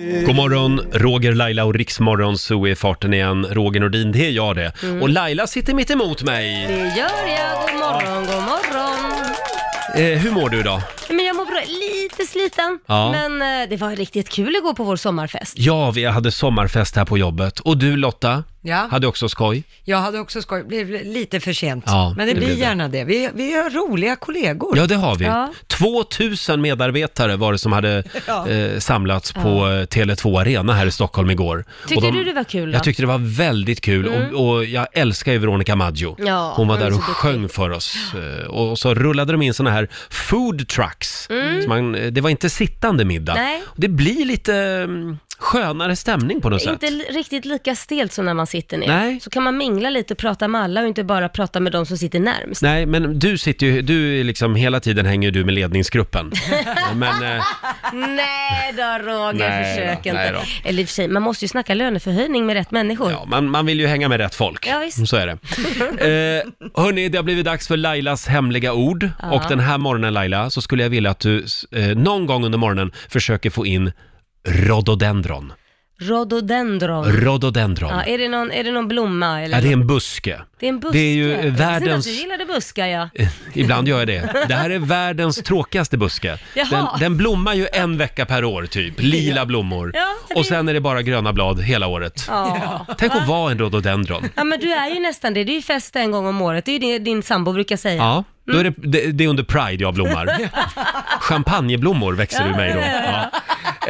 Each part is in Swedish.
Eh. God morgon, Roger, Laila och Riksmorgon så är farten igen. Roger Nordin, det är jag det. Mm. Och Laila sitter mitt emot mig. Det gör jag. God morgon, god morgon. Eh, hur mår du idag? Men jag mår bra. Lite sliten. Ja. Men eh, det var ju riktigt kul igår på vår sommarfest. Ja, vi hade sommarfest här på jobbet. Och du Lotta, Ja. hade också skoj. Jag hade också skoj, det blev lite för sent. Ja, men det, det blir blev det. gärna det. Vi, vi har roliga kollegor. Ja, det har vi. Ja. 2000 medarbetare var det som hade eh, samlats på eh, Tele2 Arena här i Stockholm igår. Tyckte du det var kul, då? Jag tyckte det var väldigt kul och, och jag älskar ju Veronica Maggio. Mm. Ja, hon var hon är där och så duktig. sjöng för oss. Eh, Och så rullade de in såna här food trucks. Så man, eh, det var inte sittande middag. Mm. Nej. Det blir lite mm, skönare stämning på något sätt. Inte li- riktigt lika stelt som när man sitter ner. Nej. Så kan man mingla lite och prata med alla och inte bara prata med de som sitter närmst. Nej, men du sitter ju, du är liksom hela tiden hänger du med ledningsgruppen. Ja, men, eh, Nej då Roger, Nej försök då, inte. nej Eller i och för sig, man måste ju snacka löneförhöjning med rätt människor. Ja, man, man vill ju hänga med rätt folk. Ja, visst. Så är det. Eh, hörni, det har blivit dags för Lailas hemliga ord. Och den här morgonen Laila, så skulle jag vilja att du eh, någon gång under morgonen försöker få in rhododendron. Rhododendron. Rhododendron. ja, Ja, är, det någon, är det någon blomma eller? det är en buske. det är en buske. det är ju Jag visste inte världens- att du gillade buskar ja. Ibland gör jag det. Det här är världens tråkigaste buske. Jaha. Den, den blommar ju en vecka per år typ, lila blommor. Ja, det- Och sen är det bara gröna blad hela året. Ja. Tänk att vara en rhododendron. Ja men du är ju nästan det, det är ju fest en gång om året, det är ju det din sambo brukar säga. Ja, Mm. då är det, det, det är under Pride jag blommar. Champagneblommor växer ur mig då. Ja.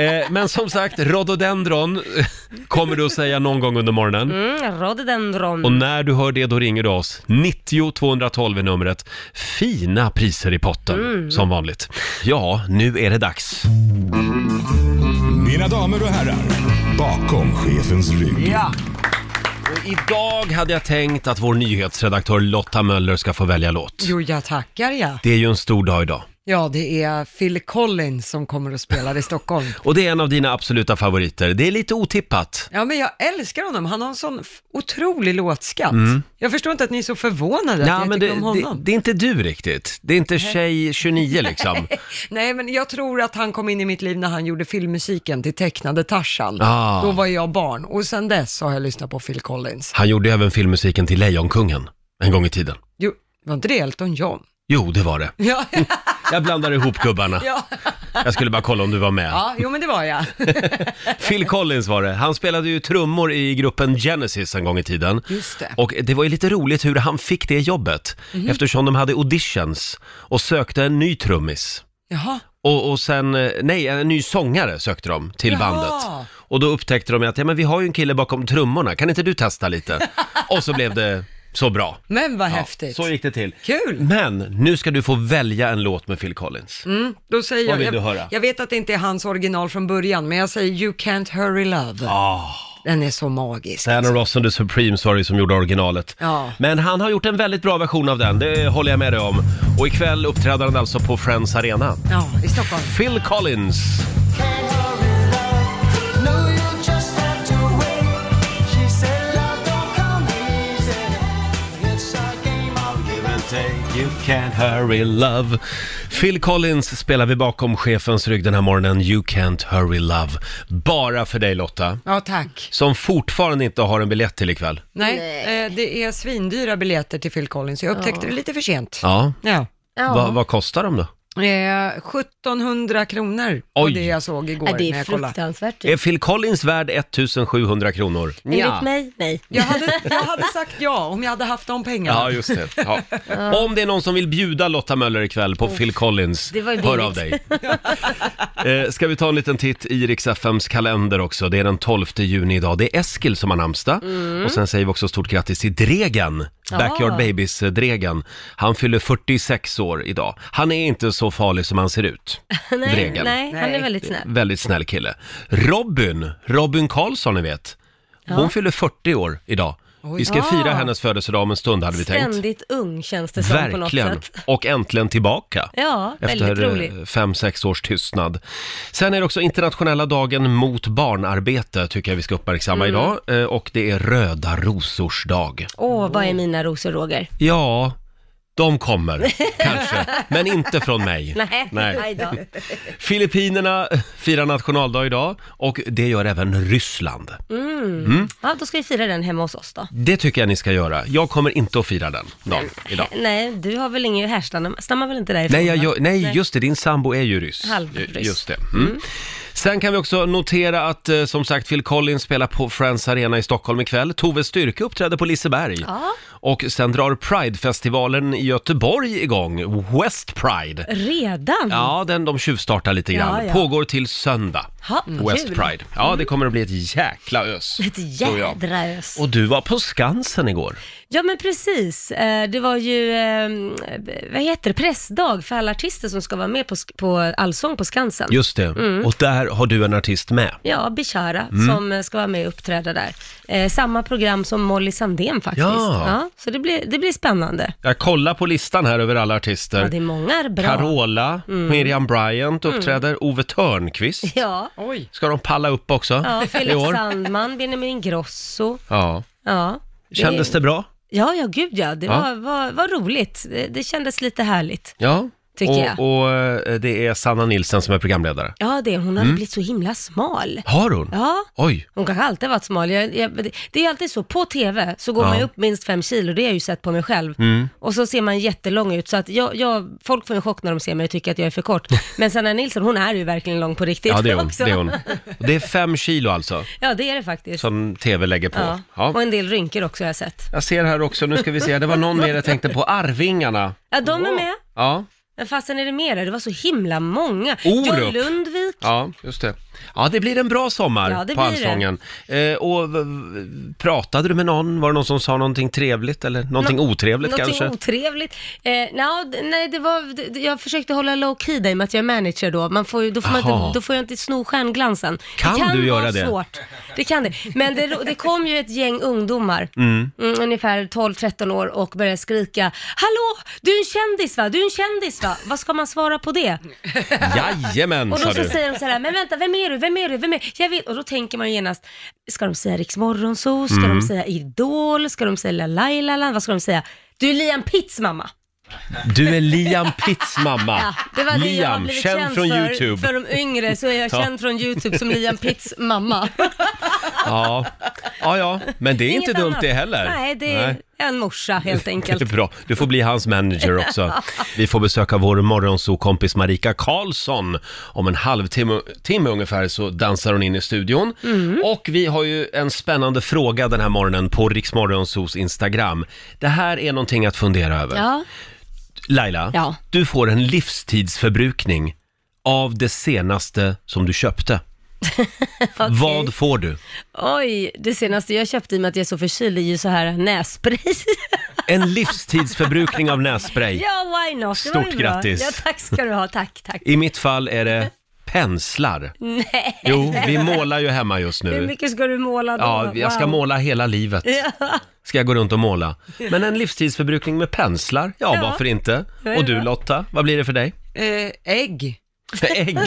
Eh, men som sagt, rhododendron kommer du att säga någon gång under morgonen. Mm, Och rhododendron. när du hör det, då ringer du oss. 90 212 är numret. Fina priser i potten, som vanligt. Ja, nu är det dags. Mina damer och herrar, bakom chefens rygg. Och idag hade jag tänkt att vår nyhetsredaktör Lotta Möller ska få välja låt. Jo, jag tackar ja. Det är ju en stor dag idag. Ja, det är Phil Collins som kommer och spelar i Stockholm. Och det är en av dina absoluta favoriter. Det är lite otippat. Ja, men jag älskar honom. Han har en sån f- otrolig låtskatt. Jag förstår inte att ni är så förvånade att Mm. Ja, jag men tycker det, om det, honom. det är inte du riktigt. Det är inte tjej 29 liksom. Nej, men jag tror att han kom in i mitt liv när han gjorde filmmusiken till tecknade Tarzan. Ah. Då var jag barn och sen dess har jag lyssnat på Phil Collins. Han gjorde även filmmusiken till Lejonkungen en gång i tiden. Jo, var inte det Elton John? Jo, det var det. Ja, Jag blandar ihop gubbarna. ja. Jag skulle bara kolla om du var med. ja jo men det var jag. Phil Collins var det. Han spelade ju trummor i gruppen Genesis en gång i tiden. Just det. Mhm. Och det var ju lite roligt hur han fick det jobbet eftersom de hade auditions och sökte en ny trummis. Jaha. Och, och sen, eh, nej, en ny sångare sökte de till Jaha. bandet. Och då upptäckte de att, ja men vi har ju en kille bakom trummorna, kan inte du testa lite? och så blev det så bra. Men vad Ja, häftigt. Så gick det till. Kul. Men nu ska du få välja en låt med Phil Collins. Mm, då säger Vad vill jag, du jag, höra? jag vet att det inte är hans original från början, men jag säger You Can't Hurry Love. Ah, Den är så magisk. Diana Ross and the Supremes var det som gjorde originalet. Ja. Men han har gjort en väldigt bra version av den, det håller jag med dig om. Och ikväll uppträder han alltså på Friends Arena. Ja, i Stockholm. Phil Collins. You can't hurry love. Phil Collins spelar vi bakom chefens rygg den här morgonen. You can't hurry love. Bara för dig Lotta, Ja, tack. som fortfarande inte har en biljett till ikväll. Nej, Eh, det är svindyra biljetter till Phil Collins. Jag upptäckte det lite för sent. Ja, Ja. Ja. Va, vad kostar de då? Eh, 1700 kronor var Oj. det jag såg igår Ja, det när är jag kollade. fruktansvärt Är Phil Collins värd 1700 kronor? Enligt mig, nej. Jag hade, jag hade sagt ja om jag hade haft de pengarna. Ja, just det. Ja. Om det är någon som vill bjuda Lotta Möller ikväll på Phil Collins, det var ju hör billigt. av dig. eh, ska vi ta en liten titt i Rix FMs kalender också. Det är den 12 juni idag. Det är Eskil som har namnsdag. Mm. Och sen säger vi också stort grattis till Dregen, Backyard Ja. Babies-Dregen. Han fyller 46 år idag. Han är inte så farlig som han ser ut. nej, Dregen. nej, han är Nej. väldigt snäll. Väldigt snäll kille. Robin, Robin Karlsson ni vet. Hon fyller 40 år idag. Vi ska fira hennes födelsedag om en stund hade vi tänkt. Ah. Ständigt ung känns det som på något Verkligen. sätt. Och äntligen tillbaka. Ja, Efter väldigt rolig. eh, fem, sex års tystnad. Sen är det också internationella dagen mot barnarbete tycker jag vi ska Mm. uppmärksamma idag. Eh, Och det är röda rosors dag. Åh, vad är mina rosor Roger? Ja, De kommer, kanske. Men inte från mig. Nej, Nej. nej då. Filippinerna firar nationaldag idag och det gör även Ryssland. Mm. Ja, då ska vi fira den hemma hos oss då. Det tycker jag ni ska göra. Jag kommer inte att fira den dagen idag. Nej, du har väl ingen härstamma, stammar väl inte därifrån? Nej, jag, va? gör- nej, just det, din sambo är ju ryss. Halvryss. Ju- Just det. Mm. Sen kan vi också notera att eh, som sagt Phil Collins spelar på Friends Arena i Stockholm ikväll. Tove Styrke uppträder på Liseberg. Ja. Och sen drar Pride-festivalen i Göteborg igång, West Pride. Redan? Ja, den, de tjuvstartar lite grann. Ja, ja. Pågår till söndag, Ha, mm. West kul. Pride. Ja, det kommer att bli ett jäkla ös. Ett tror jag. jädra ös. Och du var på Skansen igår. Ja men precis, Eh, det var ju, eh, vad heter det, pressdag för alla artister som ska vara med på, sk- på Allsång på Skansen. Just det. Mm. Och där har du en artist med. Ja, Bishara Mm. som eh, ska vara med och uppträda där. Eh, samma program som Molly Sandén faktiskt. Ja. så det blir, det blir spännande. Jag kollar på listan här över alla artister. Ja, det är många bra. Carola, Miriam Bryant uppträder, Ove Törnqvist. Ja, Oj. Ska de palla upp också ja i Felix år? Sandman, Benjamin Ingrosso. Ja. Ja. Kändes det bra? Ja, ja gud ja. Det Ja. Var, var, var roligt. Det, det kändes lite härligt. Ja. Tycker och, jag. och eh, det är Sanna Nilsen som är programledare. Ja, det, hon Mm. hade blivit så himla smal. Har hon? Ja. Oj. Hon kanske alltid varit smal. Jag, jag, det- det är alltid så, på TV så går Ja. Mm. man ju upp minst fem kilo, det har jag ju sett på mig själv. Och så ser man jättelång ut, så att jag, jag, folk får en chock när de ser mig och tycker att jag är för kort. Men Sanna Nilsson, hon är ju verkligen lång på riktigt Ja, det är hon. också. Det är, hon. det är fem kilo alltså, Ja, det är det faktiskt. som tv lägger på. ja. Och Ja. en del rynkor också har jag sett. Jag ser här också, nu ska vi se, det var någon mer jag tänkte på, Arvingarna. Ja, de är med. Ja, Men fasen är det mer? Det var så himla många. Orup. John Lundvik. ja just det. Ja, det blir en bra sommar Ja, det på blir Allsången. Eh, och v- v- pratade du med någon? Var det någon som sa någonting trevligt eller någonting otrevligt Någonting kanske? otrevligt. Eh, nja, d- nej, det var, d- d- jag försökte hålla low key där i och med att jag är manager då. Man får, ju- då, får man Jaha. inte, då får jag inte sno stjärnglansen. Kan det kan du göra vara det? Svårt. Det kan det. Men det, det kom ju ett gäng ungdomar, mm, ungefär 12-13 år och började skrika “Hallå, du är en kändis va? Du är en kändis va?” Vad ska man svara på Mm, det? Jajamän, Och sa då så du. säger de så här, men vänta, vem är du, vem är du, vem är du? Jag vet. Och då tänker man ju genast, ska de säga Rix Morgonzoo, ska Mm. de säga Idol, ska de säga Lailaland, vad ska de säga? Du är Liam Pitts mamma. Du är Liam Pitts mamma. Ja, det var det jag har Liam, blivit känd från för. YouTube. För de yngre så är jag Ja. känd från YouTube som Liam Pitts mamma. Ja. ja, ja, men det är inte Inget dumt annat. det heller. Nej, det är Nej. en morsa helt enkelt. Det är bra. Du får bli hans manager också. Vi får besöka vår morgonsokompis Marika Karlsson. Om en halvtimme timme ungefär så dansar hon in i studion. Mm. Och vi har ju en spännande fråga den här morgonen på Riksmorgonsos Instagram. Det här är någonting att fundera över. Ja, Laila, Ja. du får en livstidsförbrukning av det senaste som du köpte. Vad får du? oj, det senaste jag köpte i och med att jag är så förkyld är ju så här nässpray. En livstidsförbrukning av nässpray. ja, why not? Det var Stort ju bra. grattis. Ja, tack ska du ha, tack, tack. I mitt fall är det penslar. Nej. Jo, vi målar ju hemma just Hur nu. mycket ska du måla då? Ja, jag ska Wow. måla hela livet. Ska jag gå runt och måla. Men en livstidsförbrukning med penslar, ja, Ja. varför inte? Och du Lotta, vad blir det för dig? Eh, ägg. Ägg?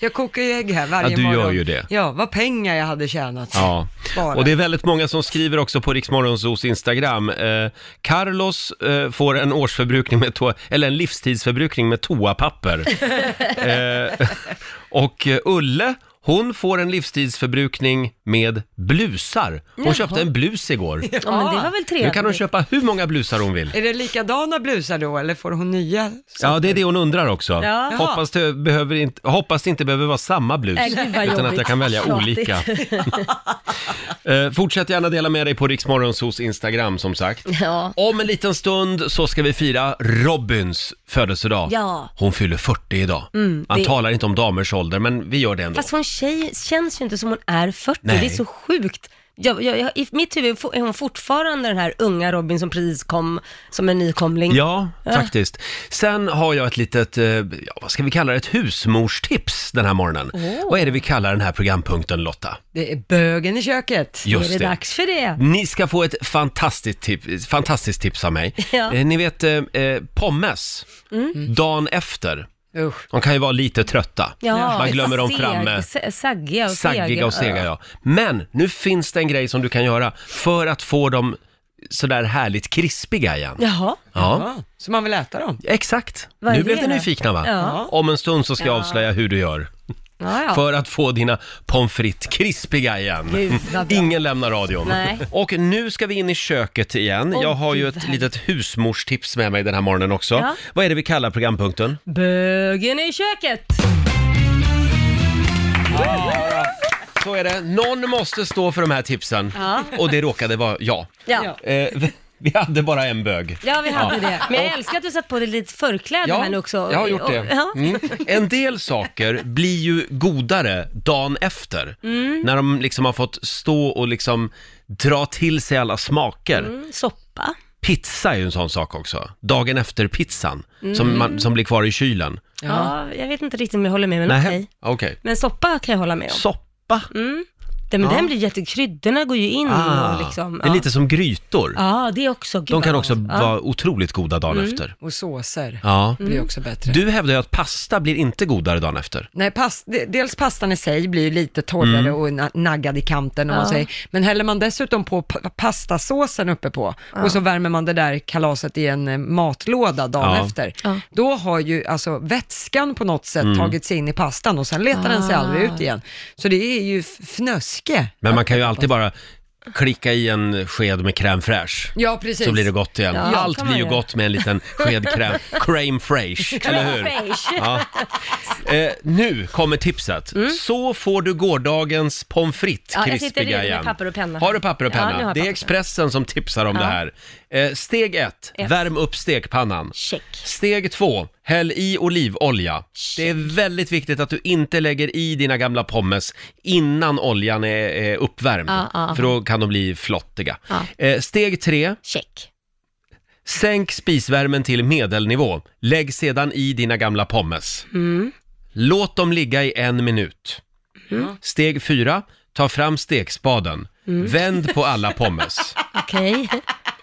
Jag kokar ju ägg här varje Ja, du gör morgon. ju det. Ja, vad pengar jag hade tjänat. Ja, Bara. och det är väldigt många som skriver också på Riksmorgonsos Instagram. Eh, Carlos eh, får en årsförbrukning med toa, eller en livstidsförbrukning med toapapper. eh, och eh, Ulle, hon får en livstidsförbrukning med blusar. Hon köpte en blus igår. Ja, men det var väl Nu trevligt. kan hon köpa hur många blusar hon vill. Är det likadana blusar då, eller får hon nya? Ja, det är det hon undrar också. Ja. Hoppas, det behöver inte, hoppas det inte behöver vara samma blus, Nej, gud utan vad att jag jobbigt. kan välja Tjatigt. olika. Eh, fortsätt gärna dela med dig på Riksmorgonsos Instagram som sagt. Ja. Om en liten stund så ska vi fira Robins födelsedag. Ja. Mm, Hon fyller 40 idag. Man det- talar inte om damers ålder, men vi gör det ändå. Fast hon tjej, känns ju inte som hon är 40, Nej. det är så sjukt. Jag, jag, jag, I mitt huvud är hon fortfarande den här unga Robin som precis kom som en nykomling. Ja, faktiskt. Sen har jag ett litet, eh, ja, vad ska vi kalla det, ett husmorstips den här morgonen. Vad är det vi kallar den här programpunkten Lotta? Det är bögen i köket. Just är det, dags för det? Ni ska få ett fantastiskt tips, fantastiskt tips av mig. Ja. Mm. Eh, Ni vet, eh, eh, pommes, dagen efter, Usch. de kan ju vara lite trötta. Man glömmer dem seg- framme. se- Saggiga och Saggiga och sega, ja. ja. Men nu finns det en grej som du kan göra för att få dem sådär härligt krispiga igen. Jaha. Ja, Ja, så man vill äta dem. exakt. Vad är Nu det blev vi då? nyfikna va? Ja. Om en stund så ska jag Ja. avslöja hur du gör Ja, ja. för att få dina pommes frites krispiga igen. Gud, vad bra. Ingen lämnar radion. Nej. Och nu ska vi in i köket igen. Åh, jag har ju gud, vad ett litet husmorstips med mig den här morgonen också. Ja. Vad är det vi kallar programpunkten? Bögen i köket! Så är det. Någon måste stå för de här tipsen. Och det råkade vara jag. Ja. Eh, vi- vi hade bara en bög. Ja, vi hade Ja. det. Men jag älskar att du satt på dig lite förkläde här nu också. jag har gjort det. Ja. Mm. En del saker blir ju godare dagen efter. Mm. När de liksom har fått stå och liksom dra till sig alla smaker. Mm, Soppa. Pizza är ju en sån sak också. Dagen efter-pizzan Mm. som, man- som blir kvar i kylen. Ja. jag vet inte riktigt om jag håller med, men Nähä, okej. Mm, okej. Men soppa kan jag hålla med om. Soppa? Den, men Ja. den blir jätte... Kryddorna går ju in Ah, och liksom... Det är lite som grytor. Ja, det är också... Gud, De vad kan också gott. Ah. Mm. Ja. vara otroligt goda dagen efter. Och såser Ja. blir Mm. också bättre. Du hävdar ju att pasta blir inte godare dagen efter. Nej, pas, de- dels pastan i sig blir ju lite torrare Mm. och na- naggad i kanten om man Ja. säger. Men häller man dessutom på pa- pastasåsen uppe på och så värmer man det där kalaset i en eh, matlåda dagen Ja. efter. Ja. Då har ju alltså vätskan på något Mm. sätt tagit sig in i pastan och sen letar Ah. den sig aldrig ut igen. Så det är ju f- fnöske. Men man kan ju alltid bara klicka i en sked med crème fraîche. Ja, precis. Så blir det gott igen. Ja, Allt kan blir man ju göra. gott med en liten sked crème, crème fraîche, eller hur? Fresh. Ja. Eh, nu kommer tipset. Så får du gårdagens pommes frites Mm. Ja, jag sitter krispiga redo med igen. papper och penna. Har du papper och Ja, nu penna? har jag det papper är och Expressen som tipsar om det här. Eh, steg ett, Ett. värm upp stekpannan. Check. Steg två, häll i olivolja. Det är väldigt viktigt att du inte lägger i dina gamla pommes innan oljan är, är uppvärmd, Ja, ja. för då kan de bli flottiga. Ja. Eh, steg tre, Check. sänk spisvärmen till medelnivå. Lägg sedan i dina gamla pommes. Låt dem ligga i en minut. Steg fyra, ta fram stekspaden. Vänd på alla pommes. Okej.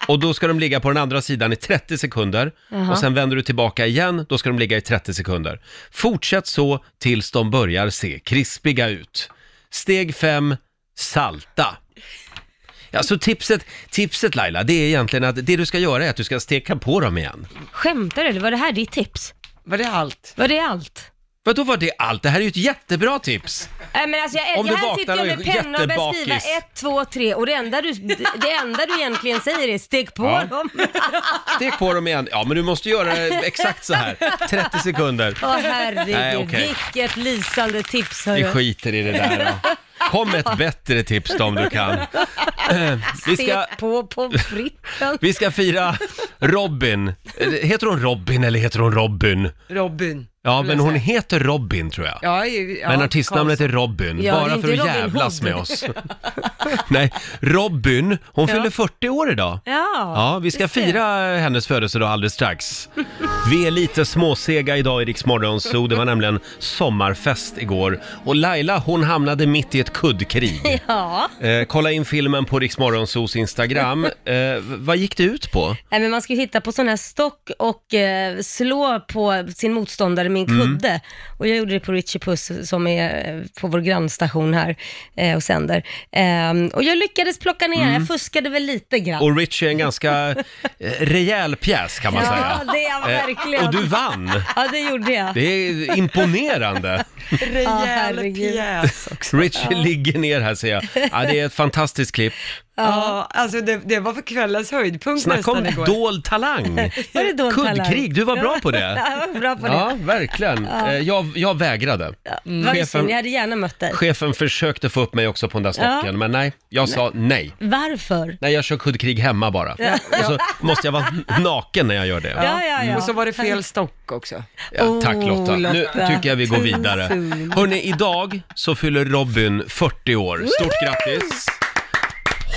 Och då ska de ligga på den andra sidan i 30 sekunder. Jaha. Och sen vänder du tillbaka igen, då ska de ligga i 30 sekunder. Fortsätt så tills de börjar se krispiga ut. Steg 5, salta. Ja, så tipset, tipset Laila, det är egentligen att det du ska göra är att du ska steka på dem igen. Skämtar du eller var det här ditt tips? Var det allt? Var det allt? Vad då var det allt? Det här är ju ett jättebra tips! Nej men alltså jag, Om du jag här vaknar sitter jag och med är penna och börjar skriva jättebakis. ett, två, tre och det enda du, det enda du egentligen säger är stek på Ja. dem. Stek på dem igen. Ja, men du måste göra det exakt så här. 30 sekunder. Åh herregud, Nej, okej. vilket lysande tips Vi hörru. skiter i det där då. Kom med ett bättre tips då om du kan. Vi ska, Stek på pommes fritesen. vi ska fira Robin. Eh, Heter hon Robin eller heter hon Robin? Robin. Ja, vill men jag hon säga. heter Robin tror jag. Ja, ju- ja, Men artistnamnet är Robin, Ja, det är bara inte för att Robin jävlas Hood. med oss. Nej, Robin, hon Ja. fyller 40 år idag. Ja, Ja, vi ska du ser. fira hennes födelsedag alldeles strax. Vi är lite småsega idag i Rix Morgon Zoo. Det var nämligen sommarfest igår. Och Laila, hon hamnade mitt i ett kuddkrig. Ja, Eh, kolla in filmen på Rix Morgon Zoos Instagram. Eh, vad gick det ut på? Nej, men man ska ju hitta på sån här stock och eh, slå på sin motståndare med en Mm. kudde. Och jag gjorde det på Richie Puss som är eh, på vår grannstation här eh, och sänder. Ehm, och jag lyckades plocka ner, Mm. jag fuskade väl lite grann. Och Richie är en ganska eh, rejäl pjäs kan man ja, säga. det är jag verkligen. Eh, och du vann! Ja, det gjorde jag. Det är imponerande. Ja, Rejäl herregud. pjäs också. Richie ligger ner här ser jag. Ja, det är ett fantastiskt klipp. Ja, alltså det, det var för kvällens höjdpunkt Snacka nästan om igår. dold talang! Var det då Kuddkrig, du var bra på det. Ja, jag var bra på det. Ja, verkligen. Eh, Jag, jag vägrade. Mm. Vad Chefen- synd, jag hade gärna mött dig. Chefen försökte få upp mig också på den där stocken, Ja. men nej, jag sa nej. Varför? Nej, jag kör kuddkrig hemma bara. Och så måste jag vara naken när jag gör det. Ja, ja, ja. Och så var det fel stock också. Ja, tack Åh, Lotta. Nu Oh, Lotta. tycker jag vi går vidare. Tusen. Hörni, idag så fyller Robin 40 år. Stort grattis!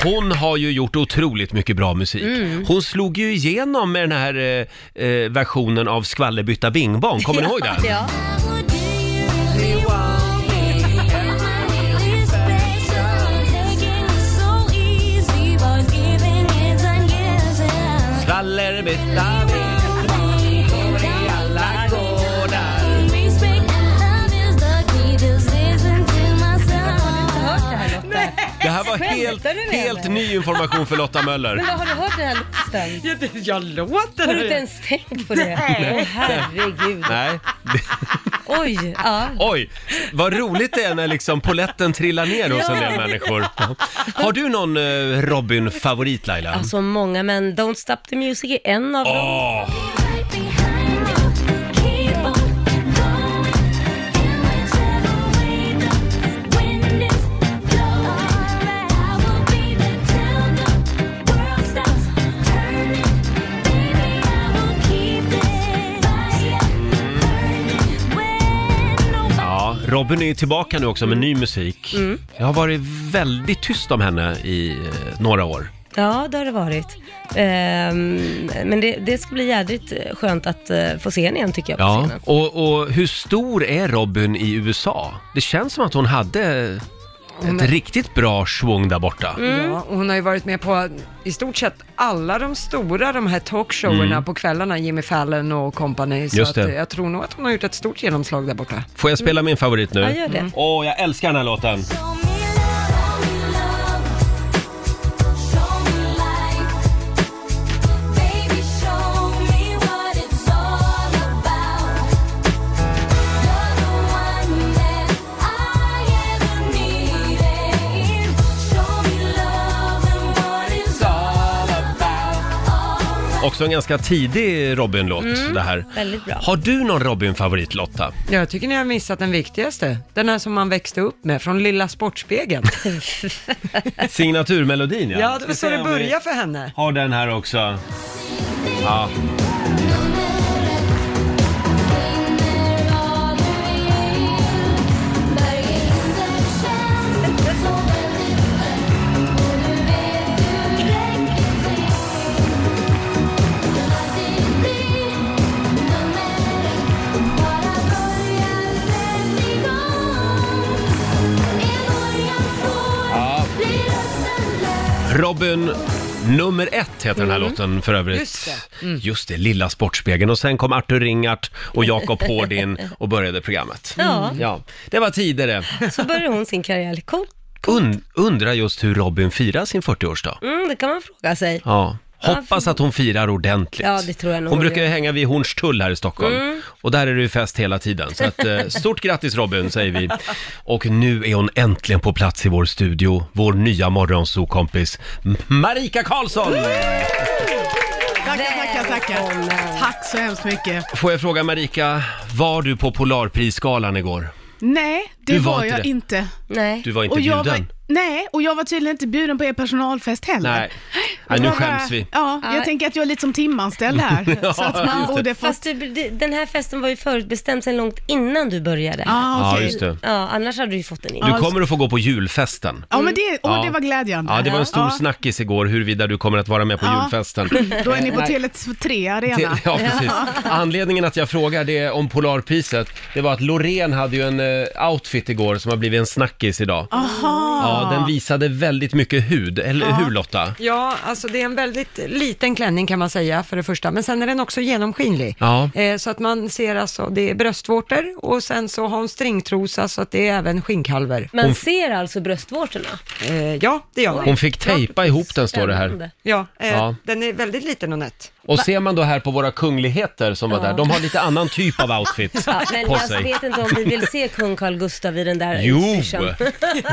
Hon har ju gjort otroligt mycket bra musik. Mm. Hon slog ju igenom med den här eh, eh, versionen av Skvallerbytta Bing Bong. Kommer ni ihåg den? Ja. Skvallerbytta Det här var Skämtar helt, du med helt mig? ny information för Lotta Möller. Men vad har du hört den här låten? Jag, jag Har du låter inte det. ens tänkt på det? Åh, herregud. Nej. Oj, ja. Oj, vad roligt det är när liksom poletten trillar ner hos en del människor. Har du någon eh, Robin-favorit Laila? Alltså många, men Don't Stop the Music är en av dem. Åh, Ja, Robin är ju tillbaka nu också med ny musik. Mm. Jag har varit väldigt tyst om henne i eh, några år. Ja, det har det varit. Ehm, men det, det ska bli jädrigt skönt att eh, få se henne igen tycker jag på Ja, scenen. och, och hur stor är Robin i USA? Det känns som att hon hade ett riktigt bra schvung där borta. Ja, och hon har ju varit med på i stort sett alla de stora de här talkshowerna på kvällarna, Jimmy Fallon och company. Så Mm. Just det. Att, eh, jag tror nog att hon har gjort ett stort genomslag där borta. Får jag spela min favorit nu? Ja, gör det. Mm. Åh, jag älskar den här låten. Också en ganska tidig Robin-låt Mm. det här. Väldigt bra. Har du någon Robin-favorit Lotta? Ja, jag tycker ni har missat den viktigaste. Den här som man växte upp med, från Lilla Sportspegeln. Signaturmelodin ja. ja, det Ska var så se det om vi började för henne. Har den här också. Ja. Robin nummer ett heter den Mm. här låten för övrigt. Just det. Just det, Lilla Sportspegeln. Och sen kom Arthur Ringart och Jakob Hårdin och började programmet. Ja, Ja, det var tider det. så började hon sin karriär. Coolt. Und, undrar just hur Robin firar sin 40-årsdag. Mm, det kan man fråga sig. Ja. Hoppas att hon firar ordentligt. Ja, det tror jag nog Hon hon brukar ju gör. Mm. hänga vid Hornstull här i Stockholm. Och där är det ju fest hela tiden. Så att, eh, stort grattis Robin, säger vi. Och nu är hon äntligen på plats i vår studio, vår nya morgonsokompis Marika Karlsson! Tackar, tackar, tackar. Välkommen. Tack så hemskt mycket. Får jag fråga Marika, var du på Polarprisgalan igår? Nej, det Du var var, inte jag det. inte. Nej. Du var inte Och jag bjuden. var, nej, och jag var tydligen inte bjuden på er personalfest heller. Nej. Nej, nu Jag bara- skäms vi. Ja, Nej. jag tänker att jag är lite som timanställd här. Ja, så att man just det. borde få... Fast du, det- den här festen var ju förutbestämd sedan långt innan du började. Ah, Ja, okej. just det. Ja, annars hade du ju fått den in. Du kommer att få gå på julfesten. Ja, men det, åh, Mm. Ja. det var glädjande. Ja, det var en stor Ja. snackis igår huruvida du kommer att vara med på Ja. julfesten. Då är ni på Tele3 Arena. Ja, precis. Anledningen att jag frågar det om Polarpriset, det var att Loreen hade ju en eh, outfit igår som har blivit en snackis idag. Aha. Ja, den visade väldigt mycket hud, eller hur Lotta? Ja, alltså det är en väldigt liten klänning kan man säga för det första, men sen är den också genomskinlig. Ja. Eh, så att man ser alltså, det är bröstvårtor och sen så har hon stringtrosa så att det är även skinnkalver. Man ser alltså bröstvårtorna. Eh, ja, det gör man. Hon fick tejpa ihop den står det här. Spännande. Ja, eh, Ja. den är väldigt liten och nätt. Och ser man då här på våra kungligheter som var där, de har lite annan typ av outfit Ja, men på jag sig. vet inte liksom. om vi vill se kung Carl Gustaf i den där Jo! utstyrseln.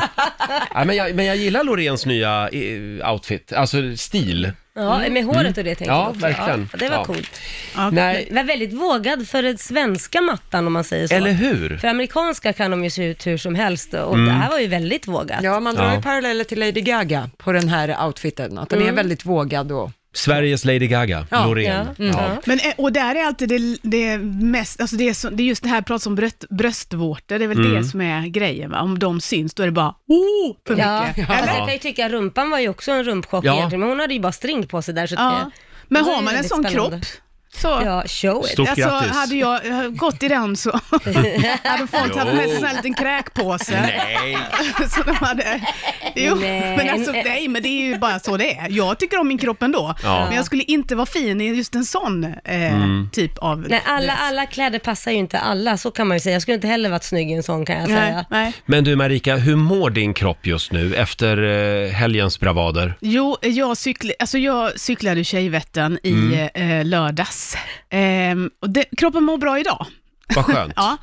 ja, men, jag, men jag gillar Loreens nya eh, outfit, alltså stil. Ja, med håret och det tänker Mm. Ja, jag också. verkligen. Ja, det var Ja. coolt. Ja. Nej, Det var väldigt vågad för den svenska mattan om man säger så. eller hur? Mm. För amerikanska kan de ju se ut hur som helst och det här var ju väldigt vågat. Ja, man drar Ja. ju paralleller till Lady Gaga på den här outfiten, att den är väldigt vågad och Sveriges Lady Gaga, Ja, Loreen. Ja. Mm. Ja. Men, eh, och där är alltid det, det mest, alltså det är, så, det är just det här pratet om bröst, bröstvårtor, det är väl Mm. det som är grejen va? Om de syns, då är det bara oh, för Ja, mycket. fast Eller? jag kan ju tycka rumpan var ju också en rumpchock Ja. egentligen, men hon hade ju bara string på sig där så att Ja. det- Men det var har ju man en väldigt sån spännande. kropp, Så. Ja, show it. Stort alltså, grattis. hade jag eh, gått i den så hade folk haft med sig en sån här liten kräkpåse. Nej. så de hade, jo, Nej. men alltså, nej, men det är ju bara så det är. Jag tycker om min kropp ändå, Ja. Mm. men jag skulle inte vara fin i just en sån eh, typ av... Nej, alla, alla kläder passar ju inte alla, så kan man ju säga. Jag skulle inte heller varit snygg i en sån kan jag nej, säga. nej. Men du Marika, hur mår din kropp just nu efter eh, helgens bravader? Jo, jag, cykl, alltså jag cyklade ju Tjejvättern i Mm. eh, lördags. Ehm, och det, kroppen mår bra idag. Vad skönt. Ja,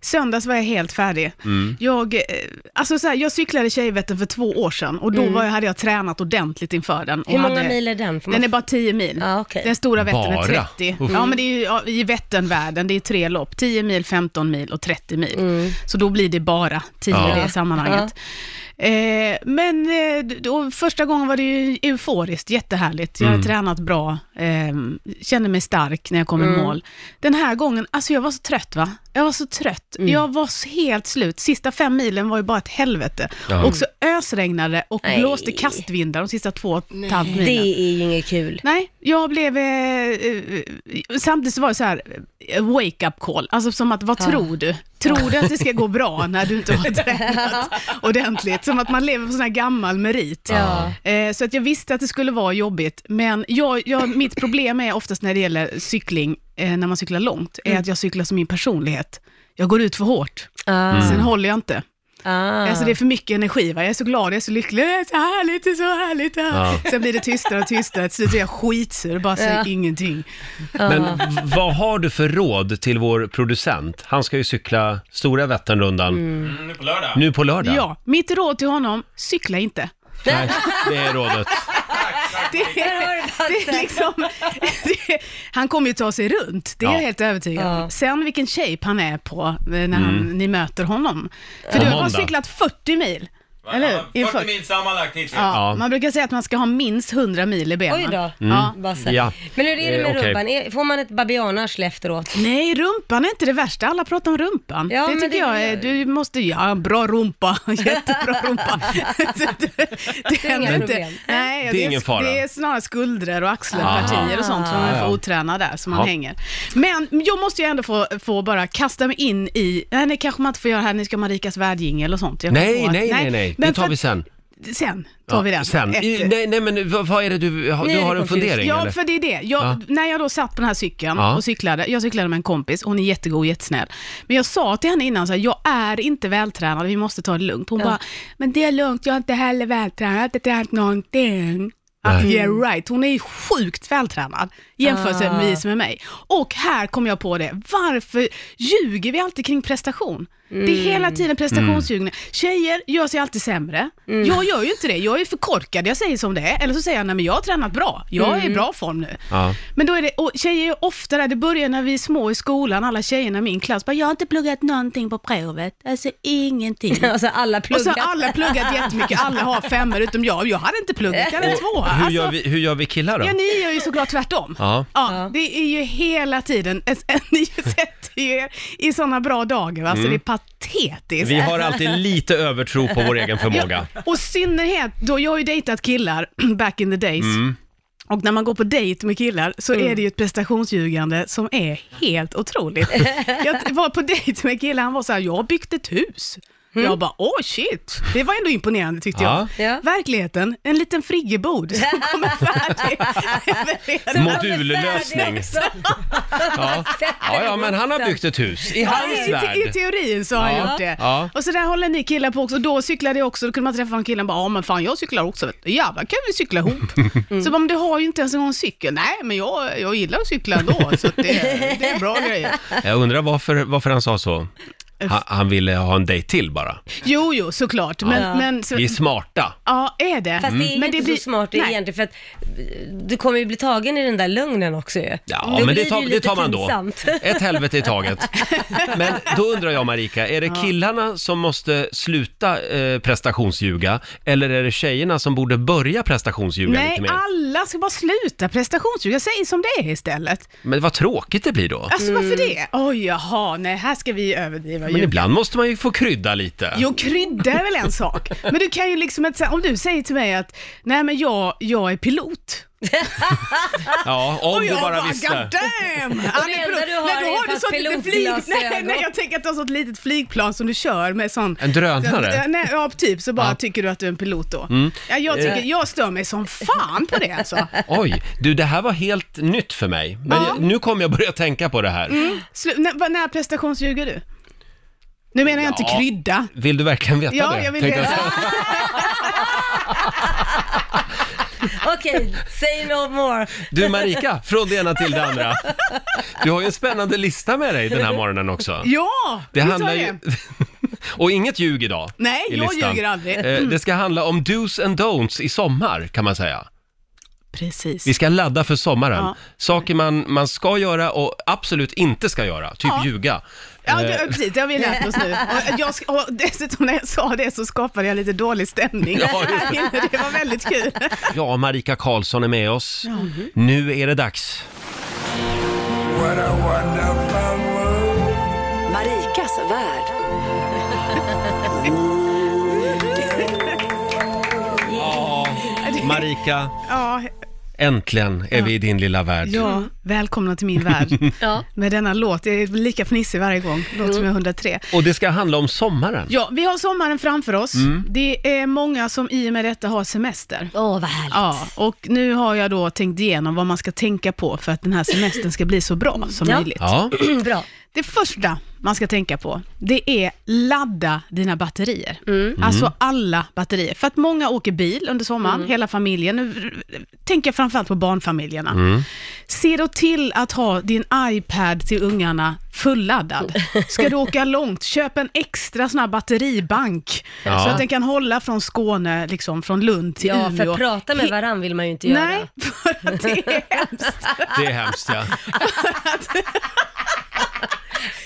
söndags var jag helt färdig. Jag, eh, alltså så här, jag cyklade Tjejvättern för två år sedan och då var jag, hade jag tränat ordentligt inför den. Och Mm. Hur många hade, mil är den? Får man- Den är bara 10 mil. Ja, okej. Den stora Vättern Bara? är 30. Uff. Ja, men det är ju, ja, i Vätternvärlden, det är tre lopp. 10 mil, 15 mil och 30 mil. Mm. Så då blir det bara 10 Ja. i det sammanhanget. Eh, men eh, då, första gången var det ju euforiskt, jättehärligt. Jag har Mm. tränat bra, eh, kände mig stark när jag kom Mm. i mål. Den här gången, alltså jag var så trött va? Jag var så trött. Mm. Jag var så helt slut. Sista fem milen var ju bara ett helvete. Ja. Och så ösregnade och Nej. blåste kastvindar de sista två och ett halvt milen. Det är ju inget kul. Nej, jag blev... Eh, eh, samtidigt så var det så här, eh, wake up call. Alltså som att, vad tror du? Tror du att det ska gå bra när du inte har tränat ordentligt? Som att man lever på sån här gammal merit. Ja. Eh, så att jag visste att det skulle vara jobbigt, men jag, jag, mitt problem är oftast när det gäller cykling, eh, när man cyklar långt, är att jag cyklar som min personlighet. Jag går ut för hårt, Mm. Ah, sen håller jag inte. ah. Alltså det är för mycket energi. Va? Jag är så glad, jag är så lycklig, det är så härligt, det är så härligt. det här. Sen blir det tystare och tystare, till slut är jag skitsur och bara säger Ja. ingenting. Men v- vad har du för råd till vår producent? Han ska ju cykla Stora Vätternrundan Mm. Nu på lördag. nu på lördag. Ja. mitt råd till honom, cykla inte. Nej, det är rådet. Det Där är, har du det är platsen. liksom, det är, han kommer ju ta sig runt, det är Ja. jag helt övertygad om. Ja. Sen vilken shape han är på eh, när han, ni möter honom. För På du har bara måndag. cyklat 40 mil, Va? eller Ja, hur? Inför- 40 mil sammanlagt hittills. Ja, Ja. Man brukar säga att man ska ha minst 100 mil i benen. Oj då. Ja. Basse. Mm. Ja. Men hur är det Eh, med okej. rumpan? Är- Får man ett babianarsle efteråt? Nej, rumpan är inte det värsta. Alla pratar om rumpan. Ja, det men tycker det- jag är, du måste, ja, bra rumpa, jättebra rumpa. det, det inga händer inte. problem. Nej, är ingen fara. Det är snarare skuldror och axelpartier och sånt som man Ah. får oträna där, som man Ja. hänger. Men jag måste ju ändå få, få bara kasta mig in i, nej, det kanske man inte får göra här, ni ska ha Marikas världjingel och sånt. Jag kommer Nej, ihåg att- nej, nej, nej. Men Det tar för- vi sen. Sen tar vi Ja, den. sen. I, Efter- nej, nej, men vad, vad är det du, har- Nu är du det har en confused. fundering Ja, eller? för det är det. Jag, Ja. När jag då satt på den här cykeln Ja. och cyklade, jag cyklade med en kompis, hon är jättegod och jättesnäll. Men jag sa till henne innan, så här, jag är inte vältränad, vi måste ta det lugnt. Hon bara, men det är lugnt, jag är inte heller vältränad, jag har inte tränat någonting. Ja, Yeah right, hon är sjukt vältränad jämfört med mig. Och här kom jag på det, varför ljuger vi alltid kring prestation? Det är Mm. hela tiden prestationsljugande. Tjejer gör sig alltid sämre. Mm. Jag gör ju inte det, jag är för korkad, jag säger som det är. Eller så säger jag, nej men jag har tränat bra, jag är i bra form nu. Mm. Ja. Men då är det, och tjejer är ofta där, det börjar när vi är små i skolan, alla tjejerna i min klass bara, jag har inte pluggat någonting på provet, alltså ingenting. Alltså alla Och så pluggat. har alla pluggat jättemycket, alla har femmor utom jag, jag hade inte pluggat, jag hade en tvåa. Hur Alltså, gör vi, hur gör vi killar då? Ja, ni gör ju såklart tvärtom. Ja. Ja, det är ju hela tiden, ni sätter ju er i sådana bra dagar, va? så det är patetiskt. Mm. Vi har alltid lite övertro på vår egen förmåga. Och i synnerhet, då jag har ju dejtat killar back in the days. Mm. Och när man går på dejt med killar så är det ju ett prestationsljugande som är helt otroligt. jag var på dejt med killar, han var så här, jag har byggt ett hus. Jag bara, åh shit, det var ändå imponerande tyckte Ja. jag. Ja. Verkligheten, en liten friggebod som kommer färdig. Modullösning. Ja. ja, ja, men han har byggt ett hus i hans Ja, i, i värld. teorin så har Ja, han gjort det. ja. Och så där håller ni killar på också. Och då cyklade jag också, då kunde man träffa en kille och bara, ja men fan jag cyklar också. vet du. Jävlar kan vi cykla ihop. Mm. Så bara, men du har ju inte ens en gång en cykel. Nej, men jag, jag gillar att cykla ändå, så att det, det är bra grejer. Jag undrar varför, varför han sa så. Han, han ville ha en dejt till bara. Jo, jo, såklart. Men, Ja. men så, Vi är smarta. ja, är det. Fast det är Mm. men inte så smart nej. egentligen för att eh, du kommer ju bli tagen i den där lögnen också ju. Ja, Då men blir det tar, ju det lite tar man pinsamt. då. Ett helvete i taget. Men då undrar jag Marika, är det killarna som måste sluta eh, prestationsljuga eller är det tjejerna som borde börja prestationsljuga Nej, lite mer? alla ska bara sluta prestationsjug. Jag säger som det är istället. Men vad tråkigt det blir då. Mm. Alltså varför det? Oj, jaha, nej, här ska vi överdriva. ju. Men ibland måste man ju få krydda lite. Jo, krydda är väl en sak. Men du kan ju liksom, inte säga- om du säger till mig att, nej men jag, jag är pilot. Ja, om Och du jag bara bara, visste. God damn! Han är enda pilot. du har Nej, då är har ett du par sånt litet flyg. Nej, pilotglasögon. nej, jag tänker att du har sånt litet flygplan som du kör med sån... En drönare. Ja, Nej, ja, typ så bara Ja. Mm. Eh. tycker du att du är en pilot då. Ja, jag, tycker, jag stör mig som fan på det alltså. Oj, du det här var helt nytt för mig. Men Ja. Mm. jag, nu kommer jag börja tänka på det här. Slu- när, vad- när prestationsljuger du? Nu menar jag inte Ja. krydda. Vill du verkligen veta Ja, det? jag vill Tänkte veta. säga. Okej, say no more. Du Marika, från det ena till det andra. Du har ju en spännande lista med dig den här morgonen också. Ja, Det visst handlar har ju... jag. Och inget ljug idag. Nej, i jag listan. ljuger aldrig. Eh, Det ska handla om do's and don'ts i sommar, kan man säga. Precis. Vi ska ladda för sommaren. Ja. Saker man, man ska göra och absolut inte ska göra, typ Ja. ljuga. Ja, Eh, det, precis. Det har vi lärt oss nu. Och jag, sk- och dessutom när jag sa det så skapade jag lite dålig stämning. Ja, det- Här inne. det var väldigt kul. Ja, Marika Karlsson är med oss. Nu är det dags. Marikas värld. Marika, Ja, äntligen är vi i din lilla värld. ja, välkomna till min värld. Mm. Ja. Mm. Med denna låt, det är lika fnissig varje gång, låt som jag är 103. Och det ska handla om sommaren. Ja, vi har sommaren framför oss. Mm. Det är många som i och med detta har semester. Åh, vad härligt. Ja, och nu har jag då tänkt igenom vad man ska tänka på för att den här semestern ska bli så bra som Ja. möjligt. Ja, Bra. Det första man ska tänka på, det är ladda dina batterier. Mm. Alltså alla batterier. För att många åker bil under sommaren, Mm. hela familjen. Nu eh, tänker jag framförallt på barnfamiljerna. Se då till att ha din iPad till ungarna fulladdad. Ska du åka långt, köp en extra sån här batteribank. Ja. Så att den kan hålla från Skåne, liksom från Lund till Ja, Umeå. för prata med varandra vill man ju inte göra. Nej, för att det är hemskt. det är hemskt ja.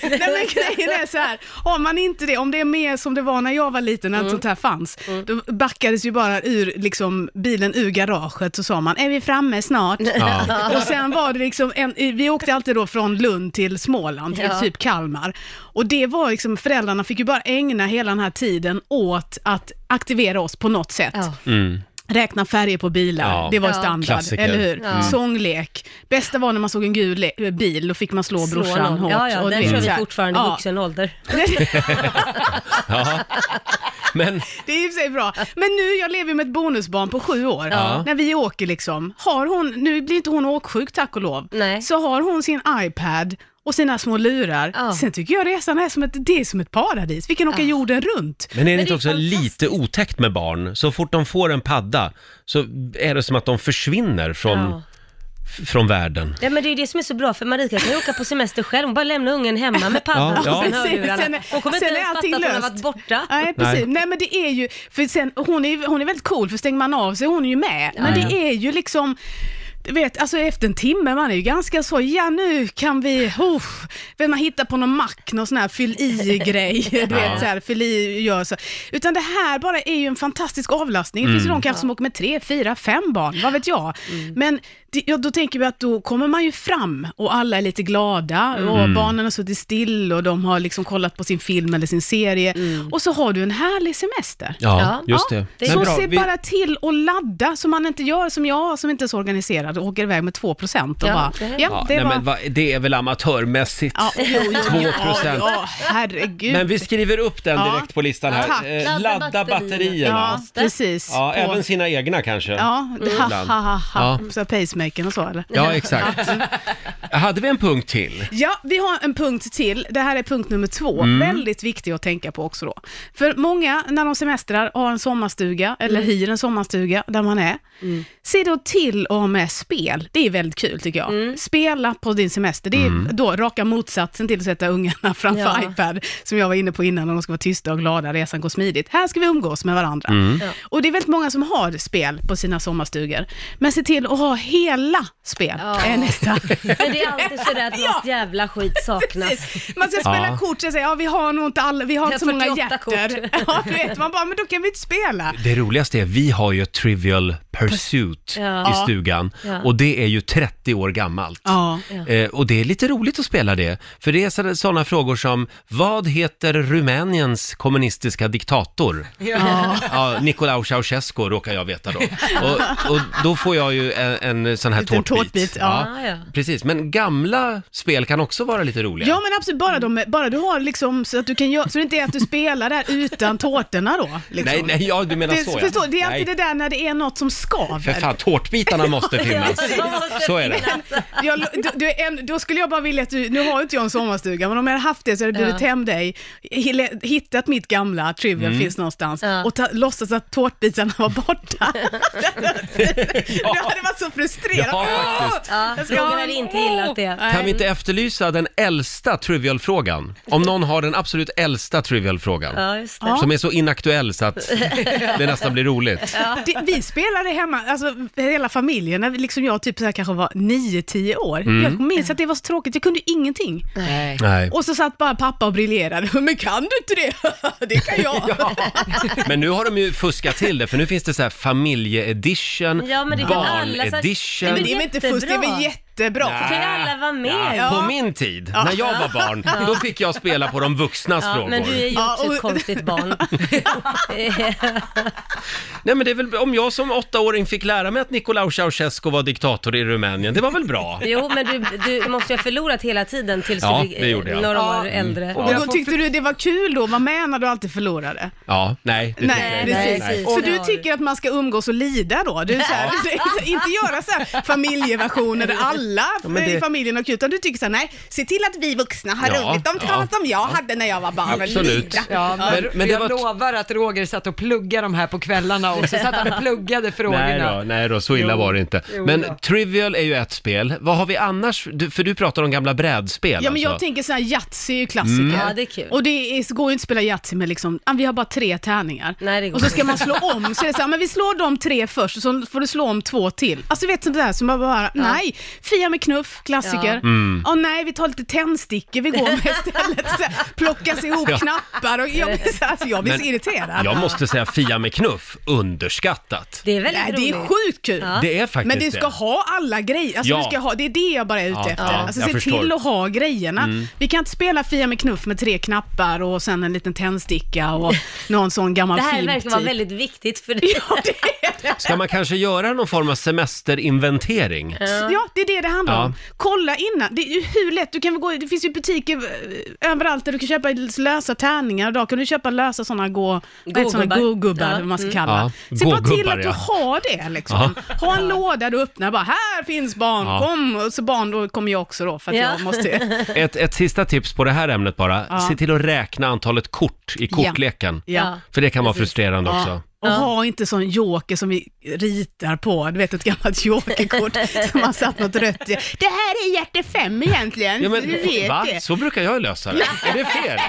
Nej men grejen är så här, har man inte det, om det är mer som det var när jag var liten, Mm. när allt sånt här fanns, då backades ju bara ur, liksom, bilen ur garaget så sa man, är vi framme snart? Ja. Och sen var det liksom, en, vi åkte alltid då från Lund till Småland, till Ja. typ Kalmar. Och det var liksom, föräldrarna fick ju bara ägna hela den här tiden åt att aktivera oss på något sätt. Ja. Räkna färger på bilar, Ja. det var ju Ja. standard, Klassiker. eller hur? Ja. Sånglek. Bästa var när man såg en gul le- eh, bil, då fick man slå, Slå brorsan någon. hårt. Ja, ja, och den du vet kör så vi här. fortfarande i Ja. vuxen ålder. ja. Men Det är i och för sig bra. Men nu, jag lever ju med ett bonusbarn på sju år. Ja. När vi åker liksom, har hon, nu blir inte hon åksjuk tack och lov, Nej. så har hon sin iPad och sina små lurar. Ja. Sen tycker jag resan är som ett, det är som ett paradis. Vi kan åka jorden runt. Men är det Men inte det är också fantastiskt. lite otäckt med barn? Så fort de får en padda så är det som att de försvinner från, Ja. f- från världen. Ja, men det är ju det som är så bra, för Marika kan ju åka på semester själv. Hon bara lämnar ungen hemma med paddan Ja, och sen ja. hörlurarna. Sen är- Hon kommer inte sen är ens fatta allting att hon har löst. varit borta. Nej, precis. Nej. Nej. men det är ju, för sen, hon är, hon är väldigt cool, för stänger man av sig, hon är ju med. Men det är ju liksom, du vet, alltså efter en timme, man är ju ganska så, ja nu kan vi, oh, vet, man hittar på någon mack, någon sån här fyll i-grej, du vet så här, fyll i, gör så. Utan det här bara är ju en fantastisk avlastning. Det finns ju de kanske som åker med tre, fyra, fem barn, vad vet jag. Men det, ja, då tänker vi att då kommer man ju fram och alla är lite glada och barnen har suttit still och de har liksom kollat på sin film eller sin serie. Och så har du en härlig semester. Ja, Ja. just Ja, det. det är Men Så bra, se vi- bara till att ladda, så man inte gör som jag som inte är så organiserad och åker iväg med 2% och Ja, bara, det är- ja, Ja, det nej, var... men va, det är väl amatörmässigt. Ja, jo, jo, jo, 2%. Ja, ja, herregud. Men vi skriver upp den Ja. direkt på listan Tack. här. Eh, Ladda Ladda ja, batterierna. precis. Ja, Och- även sina egna kanske. Ja, ha, Ibland. ha, ha, ha. Ja. Så pacemakern och så eller? Ja, exakt. Hade vi en punkt till? Ja, vi har en punkt till. Det här är punkt nummer två. Väldigt viktig att tänka på också då. För många, när de semestrar, har en sommarstuga, eller Mm. hyr en sommarstuga där man är. Se då till att ha med spel. Det är väldigt kul tycker jag. Mm. Spela på din semester. Det är då raka motsatsen till att sätta ungarna framför Ja. iPad, som jag var inne på innan, och de ska vara tysta och glada, resan går smidigt. Här ska vi umgås med varandra. Och det är väldigt många som har spel på sina sommarstugor. Men se till att ha hela spel, Ja. är nästa. Men det är alltid sådär att något Ja. jävla skit saknas. Precis. Man ska spela Ja. kort, jag säger, ja, vi har nog inte, alla, vi har Vi inte så har många 48 hjärtor. kort. Ja, du vet, man bara, men då kan vi inte spela. Det roligaste är, vi har ju ett Trivial Pursuit Ja. i stugan. Ja. Och det är ju 30 år gammalt. Ja. Eh, och det är lite roligt att spela det, för det är sådana frågor som vad heter Rumäniens kommunistiska diktator? Ja. Ja, Nicolae Ceausescu råkar jag veta då. Och, och då får jag ju en, en sån här Liten tårtbit. tårtbit, ja. Ah, ja. Precis, men gamla spel kan också vara lite roliga. Ja men absolut, bara, de, bara du har liksom så att du kan göra, så det inte är att du spelar där utan tårtorna då. Liksom. Nej, nej, ja, du menar det, så ja. förstår, det är alltid nej, det där när det är något som för skaver. fan, tårtbitarna måste finnas. Så är det. Jag, du, du, är en, då skulle jag bara vilja att du, nu har ju inte jag en sommarstuga, men om jag hade haft det så hade jag burit Ja. hem dig, hille- hittat mitt gamla Trivial Mm. finns någonstans Ja. och ta, låtsas att tårtbitarna var borta. Jag hade varit så frustrerad. Ja, Åh! faktiskt. Ja, Jag ska Roger ha hade en- inte gillat det. Nej. Kan vi inte efterlysa den äldsta trivialfrågan? Om någon har den absolut äldsta trivialfrågan. Ja, just det. Ja. Som är så inaktuell så att det nästan blir roligt. Det, vi spelade hemma, alltså hela familjen, när vi, liksom jag typ så här kanske var 9-10 år. Jag minns att det var så tråkigt, jag kunde ingenting. Nej. Nej. Och så satt bara pappa och briljerade. Men kan du inte det? Det kan jag. Men nu har de ju fuskat till det, för nu finns det så här familjeedition, Ja, men det kan alla så- barnedition. Äh. Nej, Men det är väl inte fusk, det är väl jättebra. Kan ju alla vara med? Ja, På min tid, när jag var barn, då fick jag spela på de vuxnas Ja, frågor. men du är ju Ja, också och- ett konstigt barn. Nej men det är väl, om jag som åttaåring fick lära mig att Nicolae Ceausescu var diktator i Rumänien, det var väl bra? jo, men du, du måste ju ha förlorat hela tiden tills Ja, du det gjorde jag. Mm. några Ja. år äldre. Och då tyckte du det var kul då, vad med när du alltid förlorade? Ja, nej. det tycker jag Nej, inte. precis. Nej. Så Nej. du tycker att man ska umgås och lida då? Du är så här, inte göra så här familjeversioner där alla men det- i familjen har kul, utan du tycker så här, nej, se till att vi vuxna har Ja, roligt. De ja. prat som jag hade när jag var barn. Absolut. Lida. Ja, men, Men- men det jag var- lovar att Roger satt och pluggade de här på kvällarna och så satt han och pluggade Nej frågorna. då, nej då, så illa Jo. var det inte. Jo Men då. Trivial är ju ett spel. Vad har vi annars? Du, för du pratar om gamla brädspel Ja men jag alltså. tänker så här, Yatzy är ju klassiker. Mm. Ja, det är kul. Och det är, så går ju inte att spela Yatzy med liksom, ah, vi har bara tre tärningar. Nej, det går och så ska man slå om, så är det så här, "Ah, men vi slår de tre först och så får du slå om två till. Alltså du vet sånt där som man bara, nej, Fia med knuff, klassiker. Ja. Mm. nej, vi tar lite tändstickor vi går med istället. Så här, plockas ihop Ja. knappar och jag blir så, alltså, jag blir Men- så irriterad. Jag måste säga Fia med knuff, underskattat. Det är väldigt Nej, det roligt. är sjukt kul. Ja. Det är faktiskt Men du ska det. ha alla grejer. Alltså, Ja. du ska ha, det är det jag bara är ute Ja, efter. ja, alltså, jag se förstår. Mm. till att ha grejerna. Vi kan inte spela Fia med knuff med tre knappar och sen en liten tändsticka och någon sån gammal Det här film. verkar vara typ. väldigt viktigt för dig. Ja, det är det. Ska man kanske göra någon form av semesterinventering? Ja, det är det det handlar Ja. om. Kolla innan. Det är ju hur lätt. Du kan väl gå, det finns ju butiker eh, överallt där du kan köpa lösa tärningar. Idag kan du köpa lösa sådana gå, vad heter såna Gå-gubbar. go-gubbar, Ja. Mm. eller vad man ska kalla. Ja, Se bara till gå-gubbar, att ja. du har det liksom. Ha en låda du öppnar bara, här finns barn, Ja. kom. Och så barn, då kommer jag också då, för att Ja. jag måste... Ett, ett sista tips på det här ämnet bara. Ja. Se till att räkna antalet kort i kortleken. Ja. För det kan vara frustrerande också. Och ha inte sån joker som vi ritar på, du vet ett gammalt jokerkort som man satt något rött i. Det här är hjärte fem egentligen, Ja, men, du vet va? det. Så brukar jag lösa det. Är det fel?